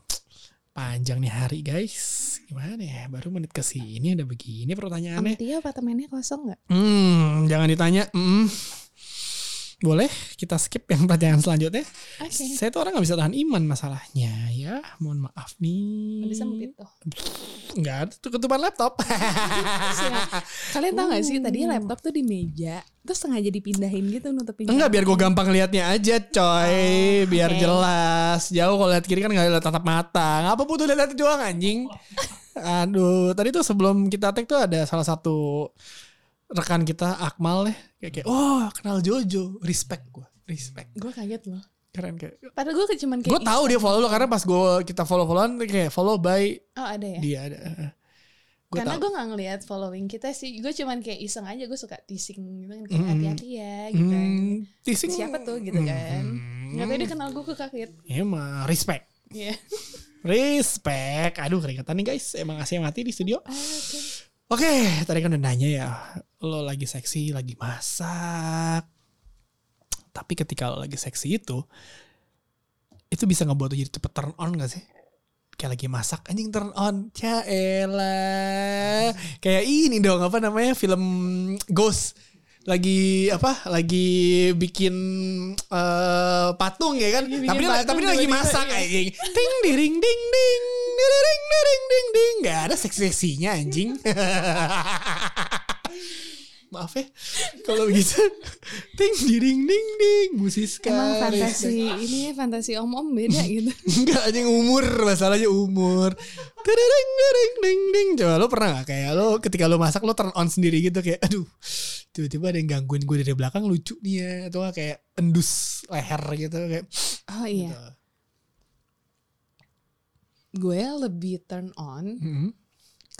Speaker 2: panjang nih hari guys gimana ya baru menit ke sini udah begini pertanyaannya
Speaker 3: Sama Tio apartemennya kosong nggak
Speaker 2: Hmm, jangan ditanya. Hmm. Boleh kita skip yang pertanyaan selanjutnya.
Speaker 3: oke
Speaker 2: Saya tuh orang nggak bisa tahan iman masalahnya ya. Mohon maaf nih.
Speaker 3: lebih sempit tuh
Speaker 2: Nggak ada tuh ketuban laptop.
Speaker 3: kalian tau gak sih tadi laptop tuh di meja terus sengaja dipindahin gitu nutupin
Speaker 2: Enggak biar gue gampang liatnya aja coy. biar
Speaker 3: Ah, oke.
Speaker 2: jelas. Jauh kalau lihat kiri kan nggak lihat tatap mata. Nggak apa butuh lihat doang anjing. Aduh, tadi tuh sebelum kita tag tuh ada salah satu rekan kita Akmal deh kayak, kayak oh kenal Jojo respect gue respect
Speaker 3: gue kaget loh
Speaker 2: keren kayak
Speaker 3: padahal gue cuman kayak
Speaker 2: gue tahu dia follow lo karena pas gue kita follow followan kayak follow by
Speaker 3: oh ada ya
Speaker 2: dia ada gue tahu
Speaker 3: karena gue gak ngeliat following kita sih gue cuman kayak iseng aja gue suka teasing gitu kan kayak
Speaker 2: Mm.
Speaker 3: hati-hati ya gitu kan.
Speaker 2: hmm, teasing
Speaker 3: siapa tuh gitu kan
Speaker 2: Hmm.
Speaker 3: nggak tahu dia kenal gue gue kaget
Speaker 2: emang respect
Speaker 3: Iya.
Speaker 2: respect aduh keringetan nih guys emang asli mati di studio
Speaker 3: Ah, oke.
Speaker 2: Oke, tadi kan udah nanya ya, lo lagi seksi, lagi masak. Tapi ketika lo lagi seksi itu, itu bisa ngebuat lo jadi cepet turn on gak sih? Kayak lagi masak, anjing turn on. Ya elah. Kayak ini dong, apa namanya, film Ghost. Lagi apa? Lagi bikin eh, patung ya kan?
Speaker 3: Lagi Iya, bikin
Speaker 2: tapi dia,
Speaker 3: patung
Speaker 2: tapi dia lagi
Speaker 3: tiba-tiba,
Speaker 2: masak
Speaker 3: iya.
Speaker 2: anjing. Ting diring ding ding. Diring diring ding ding. Gak ada seksi-seksinya anjing. Maaf ya. Kalau begitu. Ting diring ding ding. Bu Siska.
Speaker 3: Emang fantasi ini ya, fantasi om-om beda gitu.
Speaker 2: Enggak anjing umur. Masalahnya umur. Diring diring ding ding. Coba lo pernah gak kayak lo ketika lo masak lo turn on sendiri gitu kayak aduh. Tiba-tiba ada yang gangguin gue dari belakang lucu nih ya. Atau nggak kayak endus leher gitu kayak.
Speaker 3: Oh iya. Gue lebih turn on
Speaker 2: "Mm-mm."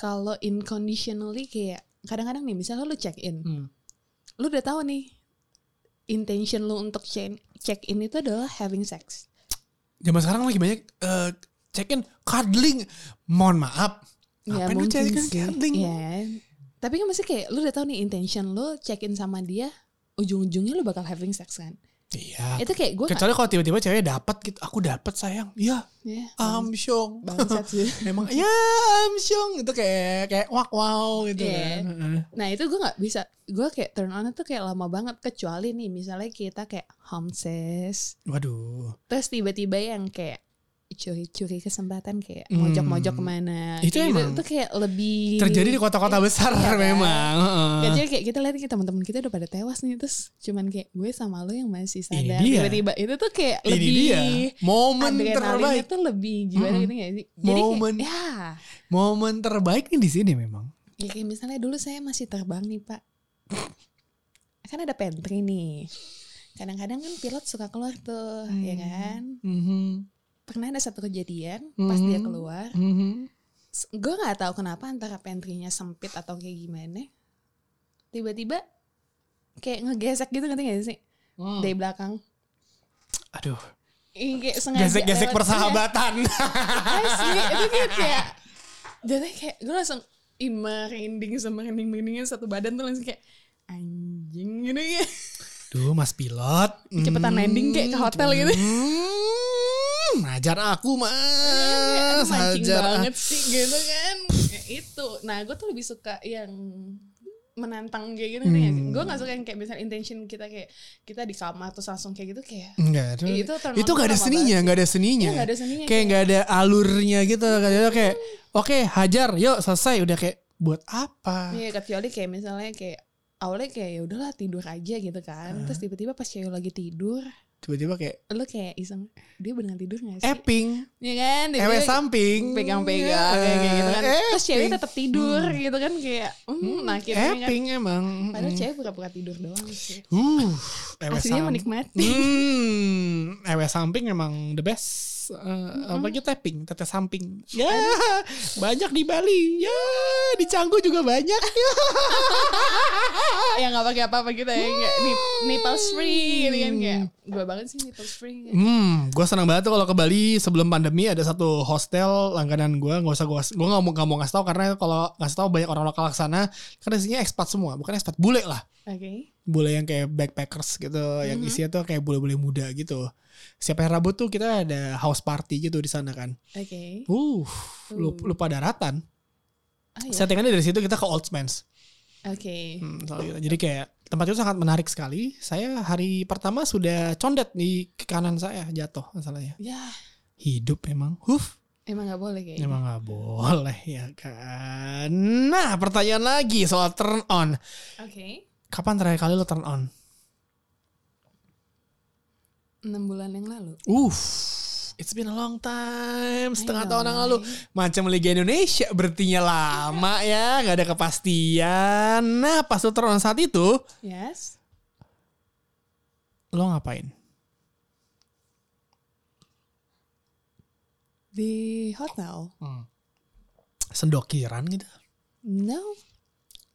Speaker 3: kalau unconditionally kayak kadang-kadang nih misalnya lu check in,
Speaker 2: Hmm.
Speaker 3: lu udah tahu nih intention lu untuk check check in itu adalah having sex.
Speaker 2: zaman sekarang lagi banyak eh, check-in cuddling. Mohon maaf.
Speaker 3: Iya,
Speaker 2: Ngapain lu check-in cuddling?
Speaker 3: Ya. Tapi kan masih kayak lu udah tahu nih intention lu check in sama dia, ujung-ujungnya lu bakal having sex kan.
Speaker 2: Iya.
Speaker 3: Itu kayak gue
Speaker 2: Kecuali kalau tiba-tiba cewek dapat gitu, aku dapat sayang. Iya, amsyong.
Speaker 3: bangsat sih.
Speaker 2: Emang ya amsyong itu kayak kayak wak wow gitu kan.
Speaker 3: Iya.
Speaker 2: Heeh.
Speaker 3: Nah itu gue nggak bisa. Gue kayak turn on tuh kayak lama banget. Kecuali nih misalnya kita kayak homesick.
Speaker 2: Waduh.
Speaker 3: Terus tiba-tiba yang kayak curi-curi kesempatan kayak mojok-mojok kemana.
Speaker 2: Hmm. Itu
Speaker 3: kayak gitu.
Speaker 2: emang
Speaker 3: Itu kayak lebih
Speaker 2: Terjadi di kota-kota besar
Speaker 3: Iya kan?
Speaker 2: memang. Heeh.
Speaker 3: Kecil kayak kita lihat kayak teman-teman kita udah pada tewas nih terus cuman kayak gue sama lo yang masih
Speaker 2: Ini
Speaker 3: sadar
Speaker 2: dia.
Speaker 3: tiba-tiba itu tuh kayak
Speaker 2: Ini
Speaker 3: lebih
Speaker 2: dia momen
Speaker 3: adrenalinnya
Speaker 2: terbaik.
Speaker 3: tuh lebih gimana
Speaker 2: Mm-mm.
Speaker 3: gitu gak sih? Jadi
Speaker 2: Momen.
Speaker 3: kayak ya,
Speaker 2: Momen terbaik nih di sini memang.
Speaker 3: ya kayak misalnya dulu saya masih terbang nih pak, kan ada pantry nih. Kadang-kadang kan pilot suka keluar tuh,
Speaker 2: Hmm.
Speaker 3: ya kan.
Speaker 2: Mhm.
Speaker 3: Pernah ada satu kejadian pas dia
Speaker 2: Mhm.
Speaker 3: keluar,
Speaker 2: Mhm.
Speaker 3: gue nggak tahu kenapa antara pantry-nya sempit atau kayak gimana. Tiba-tiba kayak ngegesek gitu ngerti gak sih?
Speaker 2: Hmm.
Speaker 3: Dari belakang.
Speaker 2: Aduh,
Speaker 3: Ih, kayak sengaja
Speaker 2: gesek-gesek
Speaker 3: lewat-
Speaker 2: persahabatan.
Speaker 3: Asli, itu kayak kayak jadi kayak gue langsung ih, merinding semerinding merindingnya satu badan tuh langsung kayak anjing gitu ya.
Speaker 2: Duh, Mas pilot.
Speaker 3: Cepetan landing kayak ke hotel gitu.
Speaker 2: Hmm, ajar aku,
Speaker 3: Aduh,
Speaker 2: Mas.
Speaker 3: mancing
Speaker 2: Ajar
Speaker 3: banget
Speaker 2: aku.
Speaker 3: sih gitu kan. Ya, itu. Nah, gue tuh lebih suka yang menantang kayak gitu nih.
Speaker 2: Hmm.
Speaker 3: Gue gak suka yang kayak misalnya intention kita kayak kita di kamar terus langsung kayak gitu kayak
Speaker 2: Enggak, itu,
Speaker 3: Ih,
Speaker 2: itu,
Speaker 3: itu turn on
Speaker 2: nggak ada
Speaker 3: pertama
Speaker 2: seninya,
Speaker 3: banget
Speaker 2: nggak ada seninya.
Speaker 3: Iya, nggak ada seninya,
Speaker 2: Mm-hmm. Kayak
Speaker 3: kayak-
Speaker 2: nggak ada alurnya gitu. Kadang-kadang kayak, oke hajar, yuk selesai. Udah kayak, buat apa?
Speaker 3: Iya kecuali kayak misalnya kayak awalnya kayak ya udahlah tidur aja gitu kan.
Speaker 2: Ah.
Speaker 3: Terus tiba-tiba pas cewek lagi tidur,
Speaker 2: Tiba-tiba kayak,
Speaker 3: lu kayak iseng dia beneran tidur gak sih?
Speaker 2: epping,
Speaker 3: Iya kan?
Speaker 2: ewe
Speaker 3: Tiba-tiba
Speaker 2: Eh, samping. Iya.
Speaker 3: pegang-pegang kayak kayak gitu kan.
Speaker 2: Eh,
Speaker 3: Terus cewek
Speaker 2: ping.
Speaker 3: tetap tidur gitu kan kayak hmm, akhirnya kan.
Speaker 2: Epping emang.
Speaker 3: Padahal
Speaker 2: Hmm.
Speaker 3: cewek pura-pura tidur doang sih.
Speaker 2: Uh, ewe samping.
Speaker 3: Aslinya menikmati.
Speaker 2: Hmm, ewe samping emang the best. Eh, Apa gitu tapping, tete samping. Ya,
Speaker 3: Iya.
Speaker 2: banyak di Bali. Ya, di Canggu juga banyak. Ya.
Speaker 3: yang gak pakai apa-apa gitu ya. Kayak nip- nipples free gitu kan kayak. Gue banget sih nipples free.
Speaker 2: Hmm, gue senang banget tuh kalau ke Bali sebelum pandemi ada satu hostel langganan gue. Gak usah gue, gue nggak mau nggak mau ngasih tau karena kalau ngasih tau banyak orang lokal kesana. Karena isinya ekspat semua, bukan ekspat bule lah.
Speaker 3: Oke.
Speaker 2: bule yang kayak backpackers gitu yang isinya tuh kayak bule-bule muda gitu setiap hari Rabu tuh kita ada house party gitu di sana kan
Speaker 3: Oke.
Speaker 2: uh lupa, lupa daratan
Speaker 3: Ah, iya.
Speaker 2: settingannya dari situ kita ke Oldsmans
Speaker 3: Oke.
Speaker 2: Hmm, soalnya gitu. jadi kayak tempat itu sangat menarik sekali saya hari pertama sudah condet di ke kanan saya jatuh masalahnya
Speaker 3: Ya,
Speaker 2: hidup emang huf
Speaker 3: emang gak boleh kayaknya.
Speaker 2: Emang nggak boleh ya kan. Nah pertanyaan lagi soal turn on.
Speaker 3: Oke.
Speaker 2: Kapan terakhir kali lo turn on?
Speaker 3: enam bulan yang lalu.
Speaker 2: Uff, it's been a long time, setengah
Speaker 3: I know,
Speaker 2: tahun yang lalu. Macam Liga Indonesia berartinya lama ya, nggak ada kepastian. Nah, pas lo turun saat itu,
Speaker 3: Yes.
Speaker 2: lo ngapain?
Speaker 3: Di hotel?
Speaker 2: Sendokiran gitu.
Speaker 3: No.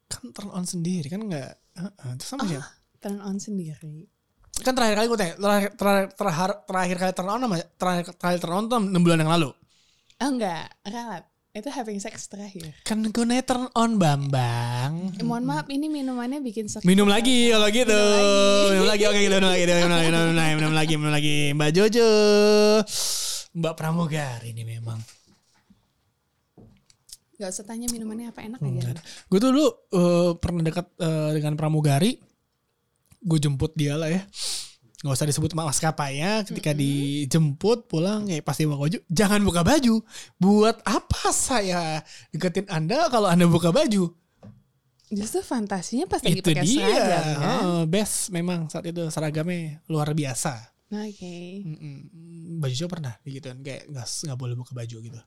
Speaker 2: Kan turn on sendiri, kan nggak... Heeh, terus sama siapa?
Speaker 3: Ah, Turn on sendiri.
Speaker 2: Kan terakhir kali gue tanya, terakhir, terakhir, terakhir- terakhir kali turn on sama terakhir, terakhir turn on tuh 6 bulan yang lalu.
Speaker 3: Oh enggak, ralat. Itu having sex terakhir.
Speaker 2: Kan gue nanya turn on Bambang.
Speaker 3: Eh, mohon maaf, ini minumannya bikin sakit.
Speaker 2: Hmm. Minum lagi kalau gitu. Minum lagi, oke gitu. Minum lagi, minum lagi, minum lagi, minum lagi, minum lagi. Mbak Jojo. Mbak Pramugari ini memang.
Speaker 3: Gak usah tanya minumannya apa enak aja.
Speaker 2: Gue tuh dulu eh, pernah dekat eh, dengan Pramugari. Gue jemput dia lah ya. Gak usah disebut ma- maskapainya ketika dijemput pulang ya kayak pasti mau baju. Jangan buka baju. Buat apa saya deketin Anda kalau Anda buka baju?
Speaker 3: Justru fantasinya pas lagi
Speaker 2: Itu
Speaker 3: pakai
Speaker 2: dia.
Speaker 3: seragam kan?
Speaker 2: Heeh, best memang saat itu seragamnya luar biasa.
Speaker 3: Oke.
Speaker 2: Mm-mm. Mm, Baju cowok pernah gitu kan kayak nggak nggak boleh buka baju gitu.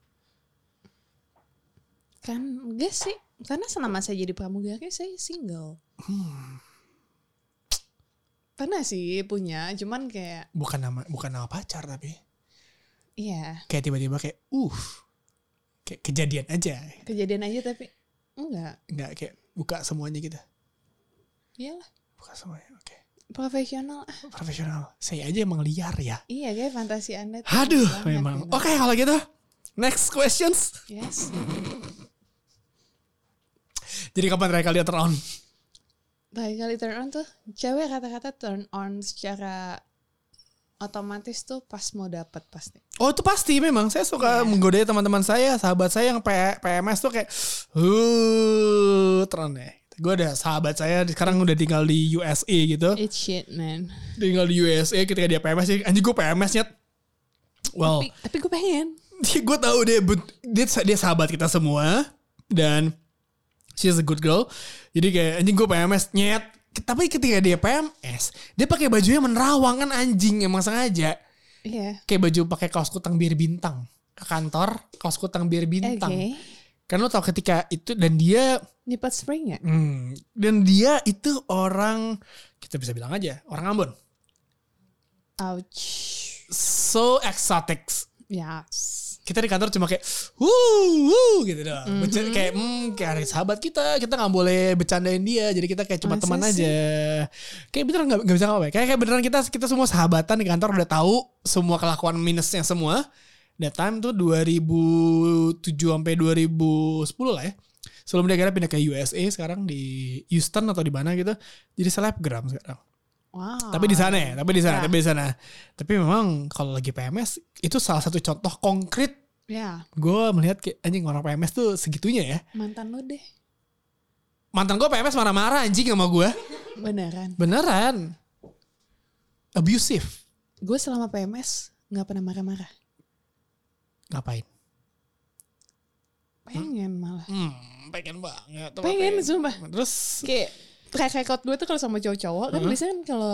Speaker 3: Kan enggak sih. Karena selama saya jadi pramugari saya single. Pernah sih punya, cuman kayak
Speaker 2: Bukan nama bukan nama pacar tapi
Speaker 3: iya
Speaker 2: kayak tiba-tiba kayak uh kayak kejadian aja
Speaker 3: kejadian aja tapi enggak.
Speaker 2: nggak kayak buka semuanya gitu
Speaker 3: Iyalah,
Speaker 2: buka semuanya oke
Speaker 3: profesional. Ah,
Speaker 2: profesional saya aja emang liar ya
Speaker 3: Iya, kayak fantasi Anda. tuh
Speaker 2: aduh
Speaker 3: banget
Speaker 2: memang
Speaker 3: gitu.
Speaker 2: oke kalau gitu next questions
Speaker 3: Yes.
Speaker 2: jadi kapan terakhir kali turn on
Speaker 3: Terakhir kali turn on tuh cewek kata-kata turn on secara otomatis tuh pas mau dapet pasti.
Speaker 2: Oh itu pasti memang saya suka menggodai teman-teman saya, sahabat saya yang P- PMS tuh kayak uh tren ya. Gue ada sahabat saya sekarang udah tinggal di USA gitu.
Speaker 3: It's shit man.
Speaker 2: Tinggal di USA ketika dia PMS dia, anjing gue PMS-nya well
Speaker 3: Tapi, tapi gue pengen.
Speaker 2: dia gue tahu dia, bet- dia dia sahabat kita semua dan she's a good girl jadi kayak anjing gue PMS nyet tapi ketika dia PMS dia pakai bajunya menerawang kan anjing emang sengaja
Speaker 3: Iya.
Speaker 2: kayak baju pakai kaos kutang bir bintang ke kantor kaos kutang bir
Speaker 3: Oke.
Speaker 2: bintang kan lo tau ketika itu dan dia
Speaker 3: Nipet spring ya?
Speaker 2: hmm, dan dia itu orang kita bisa bilang aja orang Ambon
Speaker 3: Ouch.
Speaker 2: so exotics
Speaker 3: Ya. Yes.
Speaker 2: kita di kantor cuma kayak wuh, wuh gitu doang. Bercanda- kayak hmm kayak ada sahabat kita, kita nggak boleh bercandain dia. Jadi kita kayak cuma
Speaker 3: Masa
Speaker 2: teman
Speaker 3: sih?
Speaker 2: aja. Kayak beneran nggak nggak bisa ngapa ya? Kayak kayak beneran kita kita semua sahabatan di kantor udah tahu semua kelakuan minusnya semua. That time tuh 2007 sampai 2010 lah ya. Sebelum dia kira pindah ke USA sekarang di Houston atau di mana gitu. Jadi selebgram sekarang.
Speaker 3: Wow.
Speaker 2: Tapi di sana ya, tapi di sana,
Speaker 3: Ya.
Speaker 2: tapi di sana. Tapi memang kalau lagi PMS itu salah satu contoh konkret
Speaker 3: Ya,
Speaker 2: gue melihat kayak anjing orang PMS tuh segitunya ya
Speaker 3: mantan lu deh.
Speaker 2: mantan gue PMS marah-marah anjing sama gue
Speaker 3: Beneran.
Speaker 2: beneran abusive
Speaker 3: Gue selama PMS nggak pernah marah-marah.
Speaker 2: ngapain
Speaker 3: Pengen malah.
Speaker 2: hmm, pengen banget tuh
Speaker 3: Pengen,
Speaker 2: ngapain.
Speaker 3: sumpah.
Speaker 2: terus
Speaker 3: Kayak track record gue tuh kalau sama cowok-cowok kan biasanya kan kalau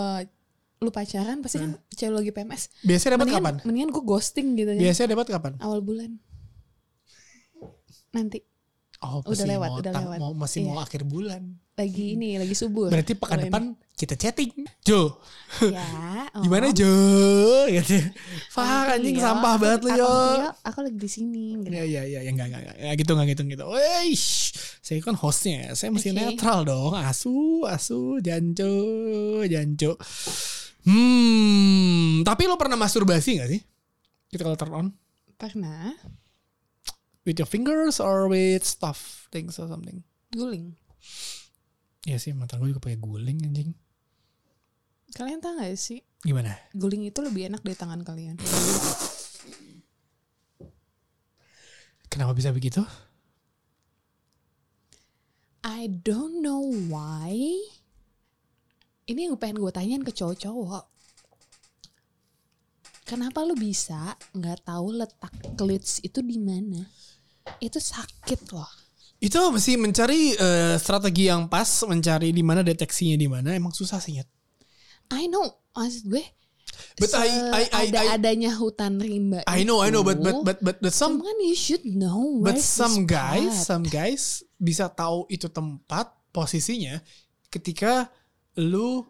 Speaker 3: lu pacaran pasti kan cewek lu lagi PMS.
Speaker 2: biasanya dapat
Speaker 3: mendingan,
Speaker 2: kapan
Speaker 3: Mendingan gue ghosting gitu kan.
Speaker 2: biasanya dapat kapan
Speaker 3: Awal bulan. Nanti
Speaker 2: oh
Speaker 3: Udah lewat,
Speaker 2: mau
Speaker 3: udah
Speaker 2: tang-
Speaker 3: lewat.
Speaker 2: mau masih
Speaker 3: Iya.
Speaker 2: mau akhir bulan
Speaker 3: lagi ini lagi subur.
Speaker 2: berarti pekan
Speaker 3: Kalau
Speaker 2: depan kita chatting Jo
Speaker 3: ini. Ya. oh.
Speaker 2: gimana Jo gitu
Speaker 3: Oh,
Speaker 2: Fah anjing
Speaker 3: iya,
Speaker 2: sampah
Speaker 3: aku-
Speaker 2: banget lu
Speaker 3: aku-
Speaker 2: Jo
Speaker 3: iya, Aku lagi di sini. gitu.
Speaker 2: Ya ya ya ya enggak enggak enggak. Ya, gitu enggak gitu gitu. Weish, saya kan hostnya, saya mesti
Speaker 3: Oke.
Speaker 2: netral dong. Asu, asu, janco, janco. Hmm, tapi lo pernah masturbasi gak sih? Kita kalau turn on
Speaker 3: Pernah
Speaker 2: with your fingers or with stuff things or something.
Speaker 3: guling.
Speaker 2: Ya sih, mantan gue juga pakai guling anjing.
Speaker 3: Kalian tahu gak sih?
Speaker 2: Gimana?
Speaker 3: Guling itu lebih enak dari tangan kalian.
Speaker 2: Kenapa bisa begitu?
Speaker 3: I don't know why. Ini yang pengen gue tanyain ke cowok-cowok. Kenapa lu bisa nggak tahu letak klits itu di mana? Itu sakit loh.
Speaker 2: Itu mesti mencari eh, strategi yang pas, mencari di mana deteksinya di mana. Emang susah sih, Nyet.
Speaker 3: I know, maksud gue.
Speaker 2: But I- I- I-
Speaker 3: ada
Speaker 2: I-
Speaker 3: adanya hutan rimba.
Speaker 2: I know, I know, but
Speaker 3: itu,
Speaker 2: but but but, but some
Speaker 3: cuman you should know.
Speaker 2: But
Speaker 3: where's
Speaker 2: some
Speaker 3: this
Speaker 2: guys,
Speaker 3: part.
Speaker 2: some guys bisa tahu itu tempat posisinya ketika lu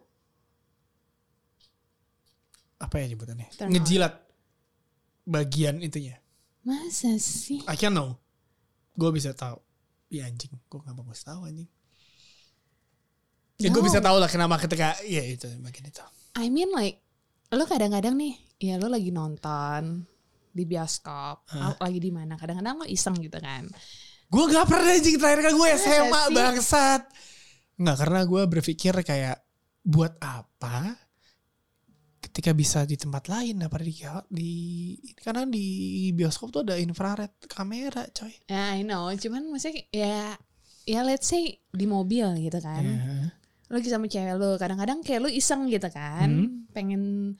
Speaker 2: apa ya nyebutannya?
Speaker 3: Turn on.
Speaker 2: Ngejilat bagian itunya.
Speaker 3: masa sih?
Speaker 2: I can know. Gue bisa tahu. Ya anjing, gue nggak mau tahu anjing. Ya gue
Speaker 3: No.
Speaker 2: bisa tahu lah kenapa ketika ya itu bagian itu.
Speaker 3: I mean like lo kadang-kadang nih ya lo lagi nonton di bioskop atau lagi di mana kadang-kadang lo iseng gitu kan
Speaker 2: Gue gak pernah anjing terakhir kan gue SMA
Speaker 3: Iya sih?
Speaker 2: bangsat. Nggak karena gue berpikir kayak buat apa ketika bisa di tempat lain daripada di di karena di bioskop tuh ada infrared kamera coy.
Speaker 3: ya I know cuman maksudnya ya ya let's say di mobil gitu kan
Speaker 2: Iya.
Speaker 3: lo lagi sama cewek lo kadang-kadang kayak lo iseng gitu kan pengen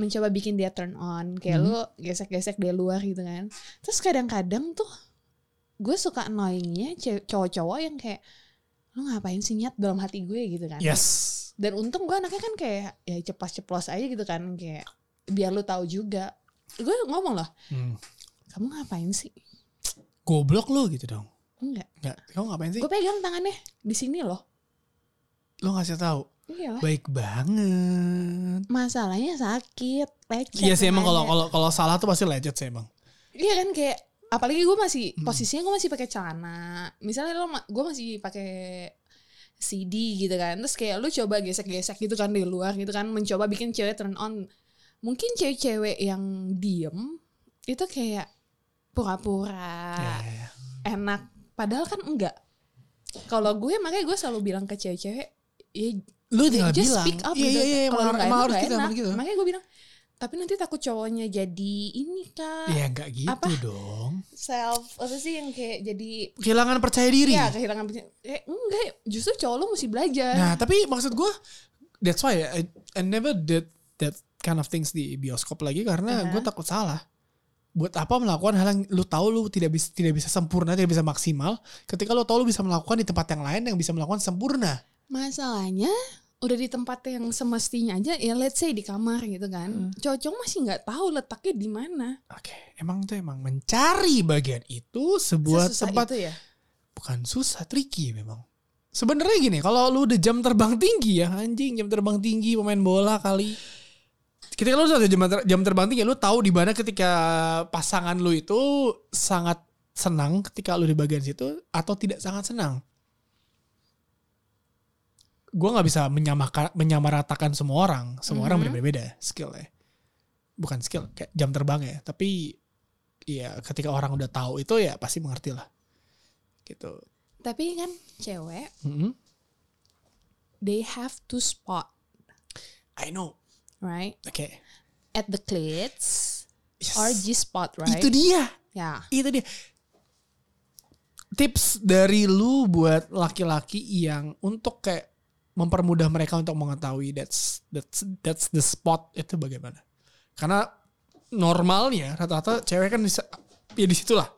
Speaker 3: mencoba bikin dia turn on kayak lo gesek-gesek dia luar gitu kan terus kadang-kadang tuh gue suka annoyingnya ce- cowok-cowok yang kayak lo ngapain sih nyat dalam hati gue gitu kan
Speaker 2: Yes.
Speaker 3: dan untung gue anaknya kan kayak ya ceplos-ceplos aja gitu kan kayak biar lu tahu juga gue ngomong loh
Speaker 2: Hmm.
Speaker 3: kamu ngapain sih
Speaker 2: Goblok lu gitu dong.
Speaker 3: enggak
Speaker 2: Nggak, kamu ngapain sih?
Speaker 3: gue pegang tangannya di sini loh
Speaker 2: Lu ngasih tahu.
Speaker 3: iya lah.
Speaker 2: Baik banget.
Speaker 3: masalahnya sakit lecet
Speaker 2: Iya sih emang kalau kalau
Speaker 3: namanya.
Speaker 2: kalau salah tuh pasti lecet sih emang.
Speaker 3: iya kan kayak apalagi gue masih
Speaker 2: Hmm.
Speaker 3: posisinya gue masih pakai celana misalnya lo ma- gue masih pakai CD gitu kan terus kayak lu coba gesek-gesek gitu kan di luar gitu kan mencoba bikin cewek turn on mungkin cewek-cewek yang diem itu kayak pura-pura
Speaker 2: Ya, ya, ya.
Speaker 3: enak padahal kan enggak kalau gue makanya gue selalu bilang ke cewek-cewek ya
Speaker 2: Lu tinggal
Speaker 3: just
Speaker 2: bilang.
Speaker 3: speak up
Speaker 2: Iya
Speaker 3: gitu
Speaker 2: iya iya
Speaker 3: kalau
Speaker 2: emang,
Speaker 3: nggak
Speaker 2: emang
Speaker 3: enak,
Speaker 2: harus
Speaker 3: nggak
Speaker 2: gitu,
Speaker 3: enak.
Speaker 2: emang gitu.
Speaker 3: makanya gue bilang Tapi nanti takut cowoknya jadi ini kak.
Speaker 2: Ya nggak gitu
Speaker 3: Apa?
Speaker 2: dong.
Speaker 3: Self apa sih yang kayak jadi
Speaker 2: Kehilangan percaya diri.
Speaker 3: Iya kehilangan percaya- eh, enggak justru cowok lu mesti belajar
Speaker 2: Nah, tapi maksud gue, that's why I, I never did that kind of things di bioskop lagi karena
Speaker 3: Aha.
Speaker 2: gue takut salah. Buat apa melakukan hal yang lu tahu lu tidak bisa tidak bisa sempurna, tidak bisa maksimal, ketika lu tahu lu bisa melakukan di tempat yang lain yang bisa melakukan sempurna.
Speaker 3: masalahnya udah di tempat yang semestinya aja ya let's say di kamar gitu
Speaker 2: Hmm.
Speaker 3: kan cowok-cowok masih nggak tahu letaknya di mana
Speaker 2: Oke, emang tuh emang mencari bagian itu sebuah
Speaker 3: Sesusah
Speaker 2: tempat
Speaker 3: itu ya
Speaker 2: bukan susah, tricky memang. Sebenarnya gini, kalau lu udah jam terbang tinggi ya, anjing jam terbang tinggi pemain bola kali. Ketika lu udah jam, ter- jam terbang tinggi, lu tahu di mana ketika pasangan lu itu sangat senang ketika lu di bagian situ atau tidak sangat senang. Gua nggak bisa menyamakan menyamaratakan semua orang, semua orang
Speaker 3: Mhm.
Speaker 2: berbeda-beda skillnya. Bukan skill, kayak jam terbang ya, tapi ya ketika orang udah tahu itu ya pasti mengerti lah. Gitu.
Speaker 3: tapi kan cewek
Speaker 2: Mhm.
Speaker 3: they have to spot
Speaker 2: I know.
Speaker 3: right
Speaker 2: Oke.
Speaker 3: at the clits
Speaker 2: Yes.
Speaker 3: or G spot right
Speaker 2: Itu dia.
Speaker 3: ya
Speaker 2: Itu dia. Tips dari lu buat laki-laki yang untuk kayak mempermudah mereka untuk mengetahui that's that's that's the spot itu bagaimana? Karena normalnya rata-rata cewek kan bisa ya di situlah.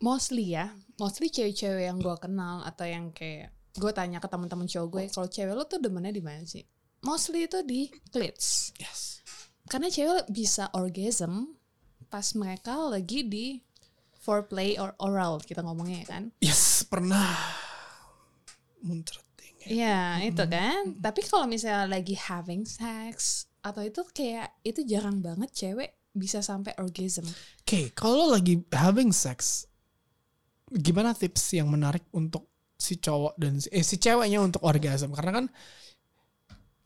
Speaker 3: mostly ya mostly cewek-cewek yang gue kenal atau yang kayak gue tanya ke teman-teman cowok gue kalau cewek lu tuh demennya di mana sih mostly itu di clits
Speaker 2: Yes.
Speaker 3: karena cewek bisa orgasm pas mereka lagi di foreplay or oral kita ngomongnya ya kan
Speaker 2: Iya. Yes, pernah muntreting.
Speaker 3: Iya itu kan tapi kalau misalnya lagi having sex atau itu kayak itu jarang banget cewek bisa sampai orgasm
Speaker 2: Oke, kalau lagi having sex, gimana tips yang menarik untuk si cowok dan si, eh, si ceweknya untuk orgasm? Karena kan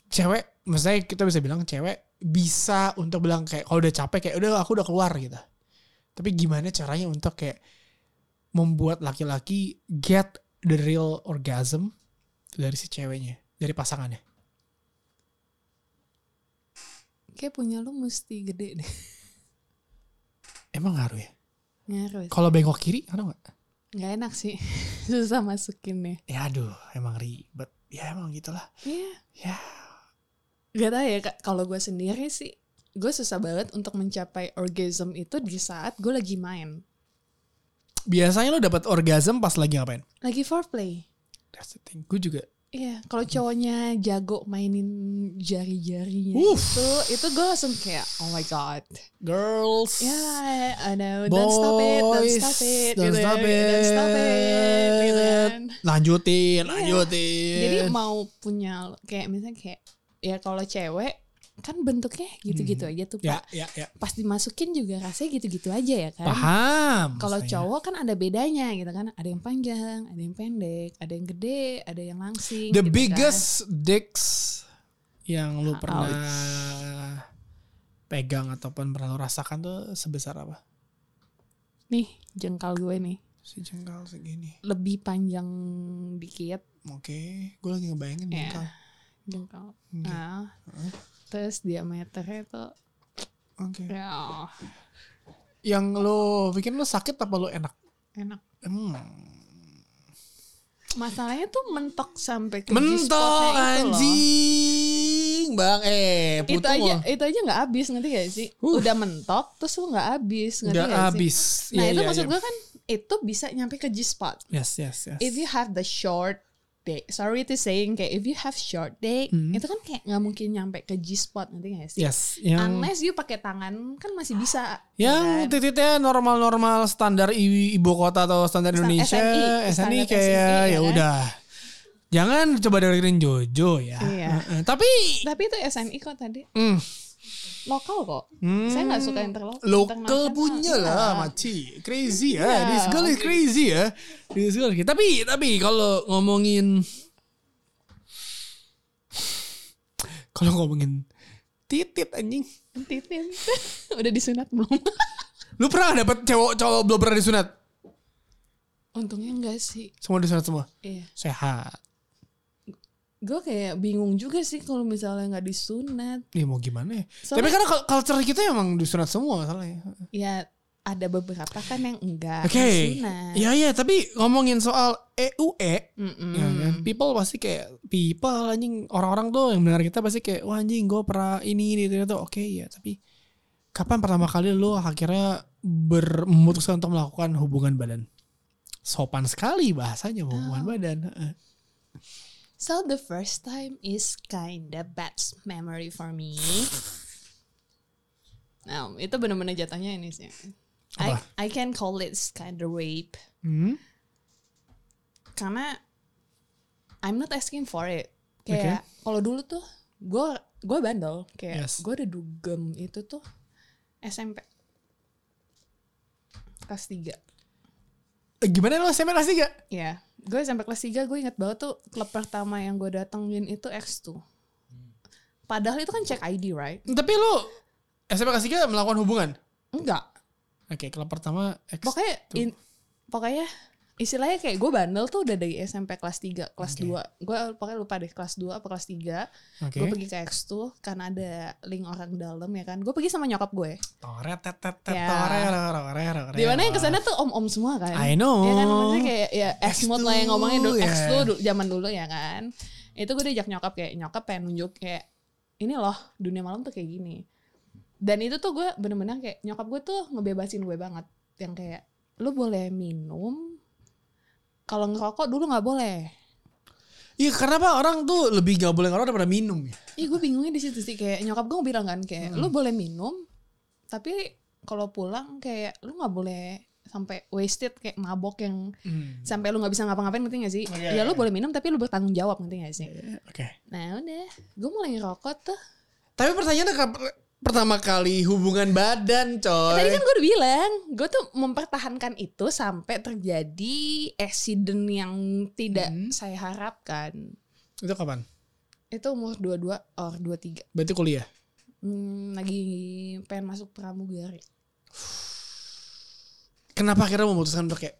Speaker 2: cewek, maksudnya kita bisa bilang cewek bisa untuk bilang kayak kalau udah capek kayak udah aku udah keluar gitu. Tapi gimana caranya untuk kayak membuat laki-laki get the real orgasm dari si ceweknya, dari pasangannya?
Speaker 3: kayak punya lu mesti gede deh
Speaker 2: Emang ngaruh ya?
Speaker 3: ngaruh sih.
Speaker 2: Kalau bengkok kiri, ada nggak?
Speaker 3: nggak enak sih susah masukinnya
Speaker 2: Ya aduh, emang ribet. Ya emang gitulah.
Speaker 3: Iya.
Speaker 2: Ya.
Speaker 3: Gak tau ya Kak, kalau gue sendiri sih gue susah banget untuk mencapai orgasm itu di saat gue lagi main
Speaker 2: Biasanya lo dapat orgasm pas lagi ngapain?
Speaker 3: lagi foreplay
Speaker 2: That's the thing. Gue juga.
Speaker 3: Iya, kalau cowoknya jago mainin jari-jarinya
Speaker 2: Uff.
Speaker 3: itu, itu gue langsung kayak, oh my god,
Speaker 2: Girls.
Speaker 3: ya, I know,
Speaker 2: Boys,
Speaker 3: don't stop it, don't stop it,
Speaker 2: don't
Speaker 3: gitu,
Speaker 2: stop
Speaker 3: don't stop it, gitu kan.
Speaker 2: Lanjutin, lanjutin.
Speaker 3: Jadi mau punya kayak misalnya kayak, ya kalau cewek kan bentuknya gitu-gitu aja tuh
Speaker 2: ya,
Speaker 3: pak.
Speaker 2: ya, ya.
Speaker 3: Pas dimasukin juga rasanya gitu-gitu aja ya kan.
Speaker 2: Paham.
Speaker 3: Kalau
Speaker 2: maksudnya.
Speaker 3: cowok kan ada bedanya gitu kan, ada yang panjang, ada yang pendek, ada yang gede, ada yang langsing.
Speaker 2: the
Speaker 3: gitu kan.
Speaker 2: biggest dicks yang lu pernah pegang ataupun pernah lu rasakan tuh sebesar apa?
Speaker 3: nih jengkal gue nih.
Speaker 2: Si jengkal segini.
Speaker 3: lebih panjang dikit
Speaker 2: Oke, gue lagi ngebayangin
Speaker 3: Iya.
Speaker 2: jengkal.
Speaker 3: jengkal.
Speaker 2: Oke.
Speaker 3: Nah, terus diameternya tuh
Speaker 2: Oke.
Speaker 3: ya
Speaker 2: Yang lu bikin lu sakit apa lu enak?
Speaker 3: enak.
Speaker 2: Hmm.
Speaker 3: Masalahnya tuh mentok sampai ke
Speaker 2: Mentok
Speaker 3: G-spotnya itu loh.
Speaker 2: anjing Bang eh putung
Speaker 3: Itu aja,
Speaker 2: loh.
Speaker 3: itu aja nggak habis nanti gak sih?
Speaker 2: Uh.
Speaker 3: Udah mentok, terus lu nggak habis, ngerti
Speaker 2: Nggak
Speaker 3: nggak sih?
Speaker 2: habis
Speaker 3: Nah
Speaker 2: Iya,
Speaker 3: itu
Speaker 2: iya,
Speaker 3: maksud
Speaker 2: iya.
Speaker 3: gue kan itu bisa nyampe ke G-spot.
Speaker 2: Yes yes yes
Speaker 3: If you have the short day, sorry to saying kayak if you have short day,
Speaker 2: Hmm.
Speaker 3: itu kan kayak nggak mungkin nyampe ke G-spot nanti gak sih?
Speaker 2: Yes yang
Speaker 3: Unless you pakai tangan kan masih bisa.
Speaker 2: yang
Speaker 3: kan?
Speaker 2: titiknya normal-normal standar i- ibu kota atau standar
Speaker 3: Sta-
Speaker 2: Indonesia
Speaker 3: SNI,
Speaker 2: SNI
Speaker 3: standar
Speaker 2: kayak
Speaker 3: SNI, ya
Speaker 2: ya
Speaker 3: kan?
Speaker 2: udah jangan coba dengerin Jojo ya
Speaker 3: Iya.
Speaker 2: Heeh, tapi
Speaker 3: Tapi itu SNI kok tadi
Speaker 2: mm,
Speaker 3: lokal kok.
Speaker 2: Hmm.
Speaker 3: Saya nggak suka kan yang terlokal.
Speaker 2: Local punya
Speaker 3: Iya.
Speaker 2: lah maci crazy ya this girl is crazy ya this girl tapi tapi kalau ngomongin kalau ngomongin titit anjing
Speaker 3: Titin. Udah disunat belum?
Speaker 2: lu pernah dapet cowok cowok belum pernah disunat
Speaker 3: Untungnya enggak sih.
Speaker 2: semua disunat semua
Speaker 3: Iya.
Speaker 2: sehat
Speaker 3: gue kayak bingung juga sih kalau misalnya nggak disunat
Speaker 2: Nih mau gimana ya? Tapi
Speaker 3: Soalnya-
Speaker 2: karena kul- culture kita emang disunat semua masalahnya.
Speaker 3: ya ada beberapa kan yang enggak
Speaker 2: Oke.
Speaker 3: disunat
Speaker 2: Iya iya, tapi ngomongin soal E EUE
Speaker 3: Mm-mm.
Speaker 2: Ya kan? People pasti kayak people anjing orang-orang tuh yang benar kita pasti kayak wah anjing gue pernah ini ini ternyata oke ya tapi kapan pertama kali lu akhirnya ber- memutuskan untuk melakukan hubungan badan sopan sekali bahasanya hubungan
Speaker 3: Ah.
Speaker 2: badan Heeh.
Speaker 3: So the first time is kinda bad memory for me. Nah, itu bener-bener jatuhnya ini sih. I,
Speaker 2: Apa?
Speaker 3: I can call it kinda rape.
Speaker 2: Hmm?
Speaker 3: Karena I'm not asking for it. Kayak kalau dulu tuh gue gue bandel kayak
Speaker 2: Yes.
Speaker 3: gue udah dugem itu tuh SMP kelas 3 ya
Speaker 2: Eh, gimana lu SMA kelas tiga?
Speaker 3: gue SMP kelas 3 gue ingat banget tuh klub pertama yang gue datengin itu X2 padahal itu kan cek ID right
Speaker 2: tapi lu SMA kelas tiga melakukan hubungan
Speaker 3: Enggak.
Speaker 2: oke kalau pertama X
Speaker 3: Pokoknya in- pokoknya istilahnya kayak gue bandel tuh udah dari SMP kelas 3, kelas
Speaker 2: Oke.
Speaker 3: 2. Gue pokoknya lupa deh kelas 2 apa kelas 3.
Speaker 2: oke
Speaker 3: Gue pergi ke X tuh karena ada link orang dalam ya kan. Gue pergi sama nyokap gue.
Speaker 2: Tore, tet, tet, tet,
Speaker 3: Ya.
Speaker 2: tore, tore, tore, tore.
Speaker 3: Di mana yang kesana tuh om-om semua kan.
Speaker 2: I know
Speaker 3: Ya kan maksudnya kayak ya X mode lah yang ngomongin dulu
Speaker 2: X2,
Speaker 3: X
Speaker 2: Oh, ya.
Speaker 3: tuh dulu- zaman dulu ya kan. Itu gue diajak nyokap kayak nyokap pengen nunjuk kayak ini loh dunia malam tuh kayak gini. Dan itu tuh gue bener-bener kayak nyokap gue tuh ngebebasin gue banget yang kayak lu boleh minum kalau ngerokok dulu nggak boleh.
Speaker 2: Iya karena apa orang tuh lebih gak boleh ngerokok daripada minum ya.
Speaker 3: Ih gue bingungnya di situ sih kayak nyokap gue bilang kan kayak lu boleh minum tapi kalau pulang kayak lu nggak boleh sampai wasted kayak mabok yang
Speaker 2: Hmm.
Speaker 3: sampai lu nggak bisa ngapa-ngapain ngerti gak sih?
Speaker 2: Iya,
Speaker 3: ya lu
Speaker 2: iya.
Speaker 3: boleh minum tapi lu bertanggung jawab ngerti gak sih?
Speaker 2: Oke.
Speaker 3: Nah udah, gue mulai ngerokok tuh.
Speaker 2: Tapi pertanyaannya kap- pertama kali hubungan badan coy.
Speaker 3: Tadi kan gue udah bilang, gue tuh mempertahankan itu sampai terjadi accident yang tidak
Speaker 2: Hmm.
Speaker 3: saya harapkan.
Speaker 2: Itu kapan?
Speaker 3: Itu umur 22 or 23.
Speaker 2: Berarti kuliah.
Speaker 3: Hmm, lagi pengen masuk pramugari.
Speaker 2: Kenapa akhirnya memutuskan untuk kayak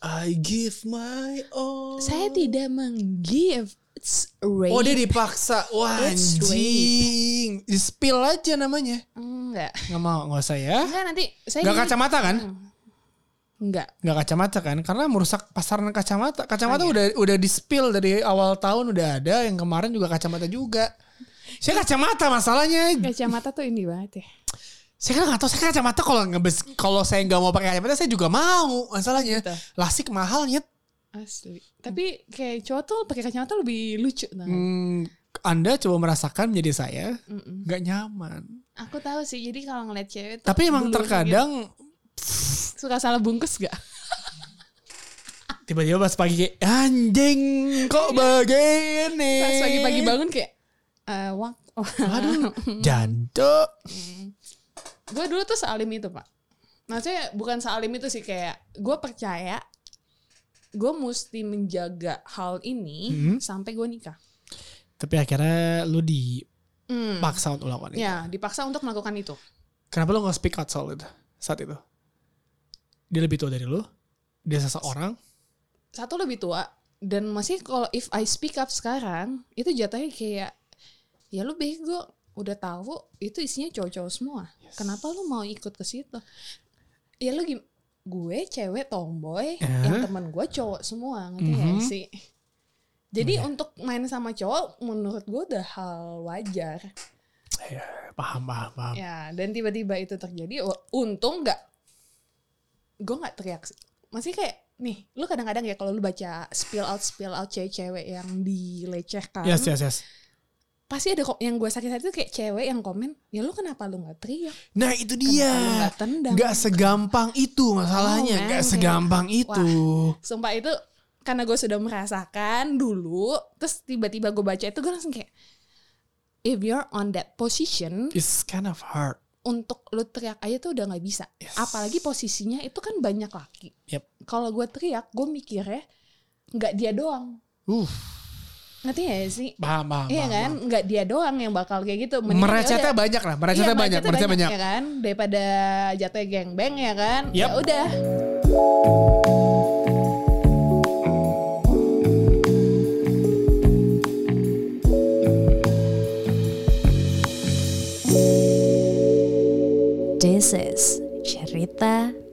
Speaker 2: I give my all.
Speaker 3: Saya tidak menggive, it's rape.
Speaker 2: Oh dia dipaksa. Wah
Speaker 3: It's
Speaker 2: anjing. Di spill aja namanya.
Speaker 3: Enggak.
Speaker 2: Nggak mau nggak usah ya.
Speaker 3: Enggak nanti saya
Speaker 2: Gak
Speaker 3: jadi-
Speaker 2: kacamata kan?
Speaker 3: Hmm. Enggak.
Speaker 2: Gak kacamata kan? Karena merusak pasaran kacamata. Kacamata
Speaker 3: Oh, iya.
Speaker 2: udah udah di spill dari awal tahun udah ada. Yang kemarin juga kacamata juga. Saya kacamata masalahnya.
Speaker 3: Kacamata tuh ini banget ya.
Speaker 2: saya kan nggak tahu saya kan kacamata kalau ngebes kalau saya nggak mau pakai kacamata saya juga mau masalahnya
Speaker 3: Gitu.
Speaker 2: lasik mahal nyet
Speaker 3: Asli. Tapi kayak cowok tuh pakai kacamata lebih lucu. tau nggak?
Speaker 2: Hmm, anda coba merasakan menjadi saya
Speaker 3: Mm-mm.
Speaker 2: nggak nyaman
Speaker 3: Aku tahu sih. Jadi kalau ngeliat cewek tuh
Speaker 2: tapi emang
Speaker 3: bulunya
Speaker 2: terkadang
Speaker 3: gitu. suka salah bungkus gak?
Speaker 2: tiba-tiba pas pagi kayak anjing kok begini
Speaker 3: Pas pagi-pagi bangun kayak eh wak.
Speaker 2: aduh jantuk
Speaker 3: gue dulu tuh sealim itu pak. Maksudnya bukan sealim itu sih kayak gue percaya gue mesti menjaga hal ini
Speaker 2: Hmm.
Speaker 3: sampai gue nikah.
Speaker 2: tapi akhirnya lu dipaksa
Speaker 3: Hmm.
Speaker 2: untuk melakukan itu
Speaker 3: Ya dipaksa untuk melakukan itu.
Speaker 2: kenapa lu nggak speak out soal itu saat itu dia lebih tua dari lu dia seseorang
Speaker 3: satu lebih tua dan masih kalau if I speak up sekarang itu jatuhnya kayak ya lu bego udah tahu itu isinya cowok-cowok semua kenapa lu mau ikut ke situ ya lu gim gue cewek
Speaker 2: Eh?
Speaker 3: tomboy yang temen gue cowok semua ngerti nggak
Speaker 2: Mhm.
Speaker 3: sih jadi untuk main sama cowok menurut gue udah hal wajar
Speaker 2: ya, paham paham paham
Speaker 3: ya dan tiba-tiba itu terjadi wa- untung nggak gue nggak teriak sih. masih kayak nih lu kadang-kadang ya kalau lu baca spill out spill out cewek-cewek yang dilecehkan
Speaker 2: yes yes yes
Speaker 3: pasti ada kok yang gue sakit hati tuh kayak cewek yang komen ya lu kenapa lu nggak teriak
Speaker 2: Nah itu
Speaker 3: kenapa
Speaker 2: dia.
Speaker 3: lu nggak tendang
Speaker 2: Gak segampang itu masalahnya.
Speaker 3: Oh,
Speaker 2: Gak
Speaker 3: man.
Speaker 2: segampang itu.
Speaker 3: sumpah itu karena gue sudah merasakan dulu terus tiba-tiba gue baca itu gue langsung kayak if you're on that position
Speaker 2: It's kind of hard.
Speaker 3: untuk lu teriak aja tuh udah nggak bisa.
Speaker 2: Yes.
Speaker 3: Apalagi posisinya itu kan banyak laki.
Speaker 2: Yep.
Speaker 3: Kalau gue teriak, gue mikirnya nggak dia doang.
Speaker 2: Uh,
Speaker 3: Ngerti gak sih?
Speaker 2: paham, paham,
Speaker 3: Iya
Speaker 2: paham,
Speaker 3: kan, nggak dia doang yang bakal kayak gitu.
Speaker 2: paham.
Speaker 3: Mending
Speaker 2: Merecetnya
Speaker 3: ya udah-
Speaker 2: banyak lah. Merecetnya
Speaker 3: Iya,
Speaker 2: banyak. Merecetnya banyak.
Speaker 3: ya kan, daripada jatuh geng beng ya kan.
Speaker 2: Yep.
Speaker 3: Ya udah.
Speaker 1: This is cerita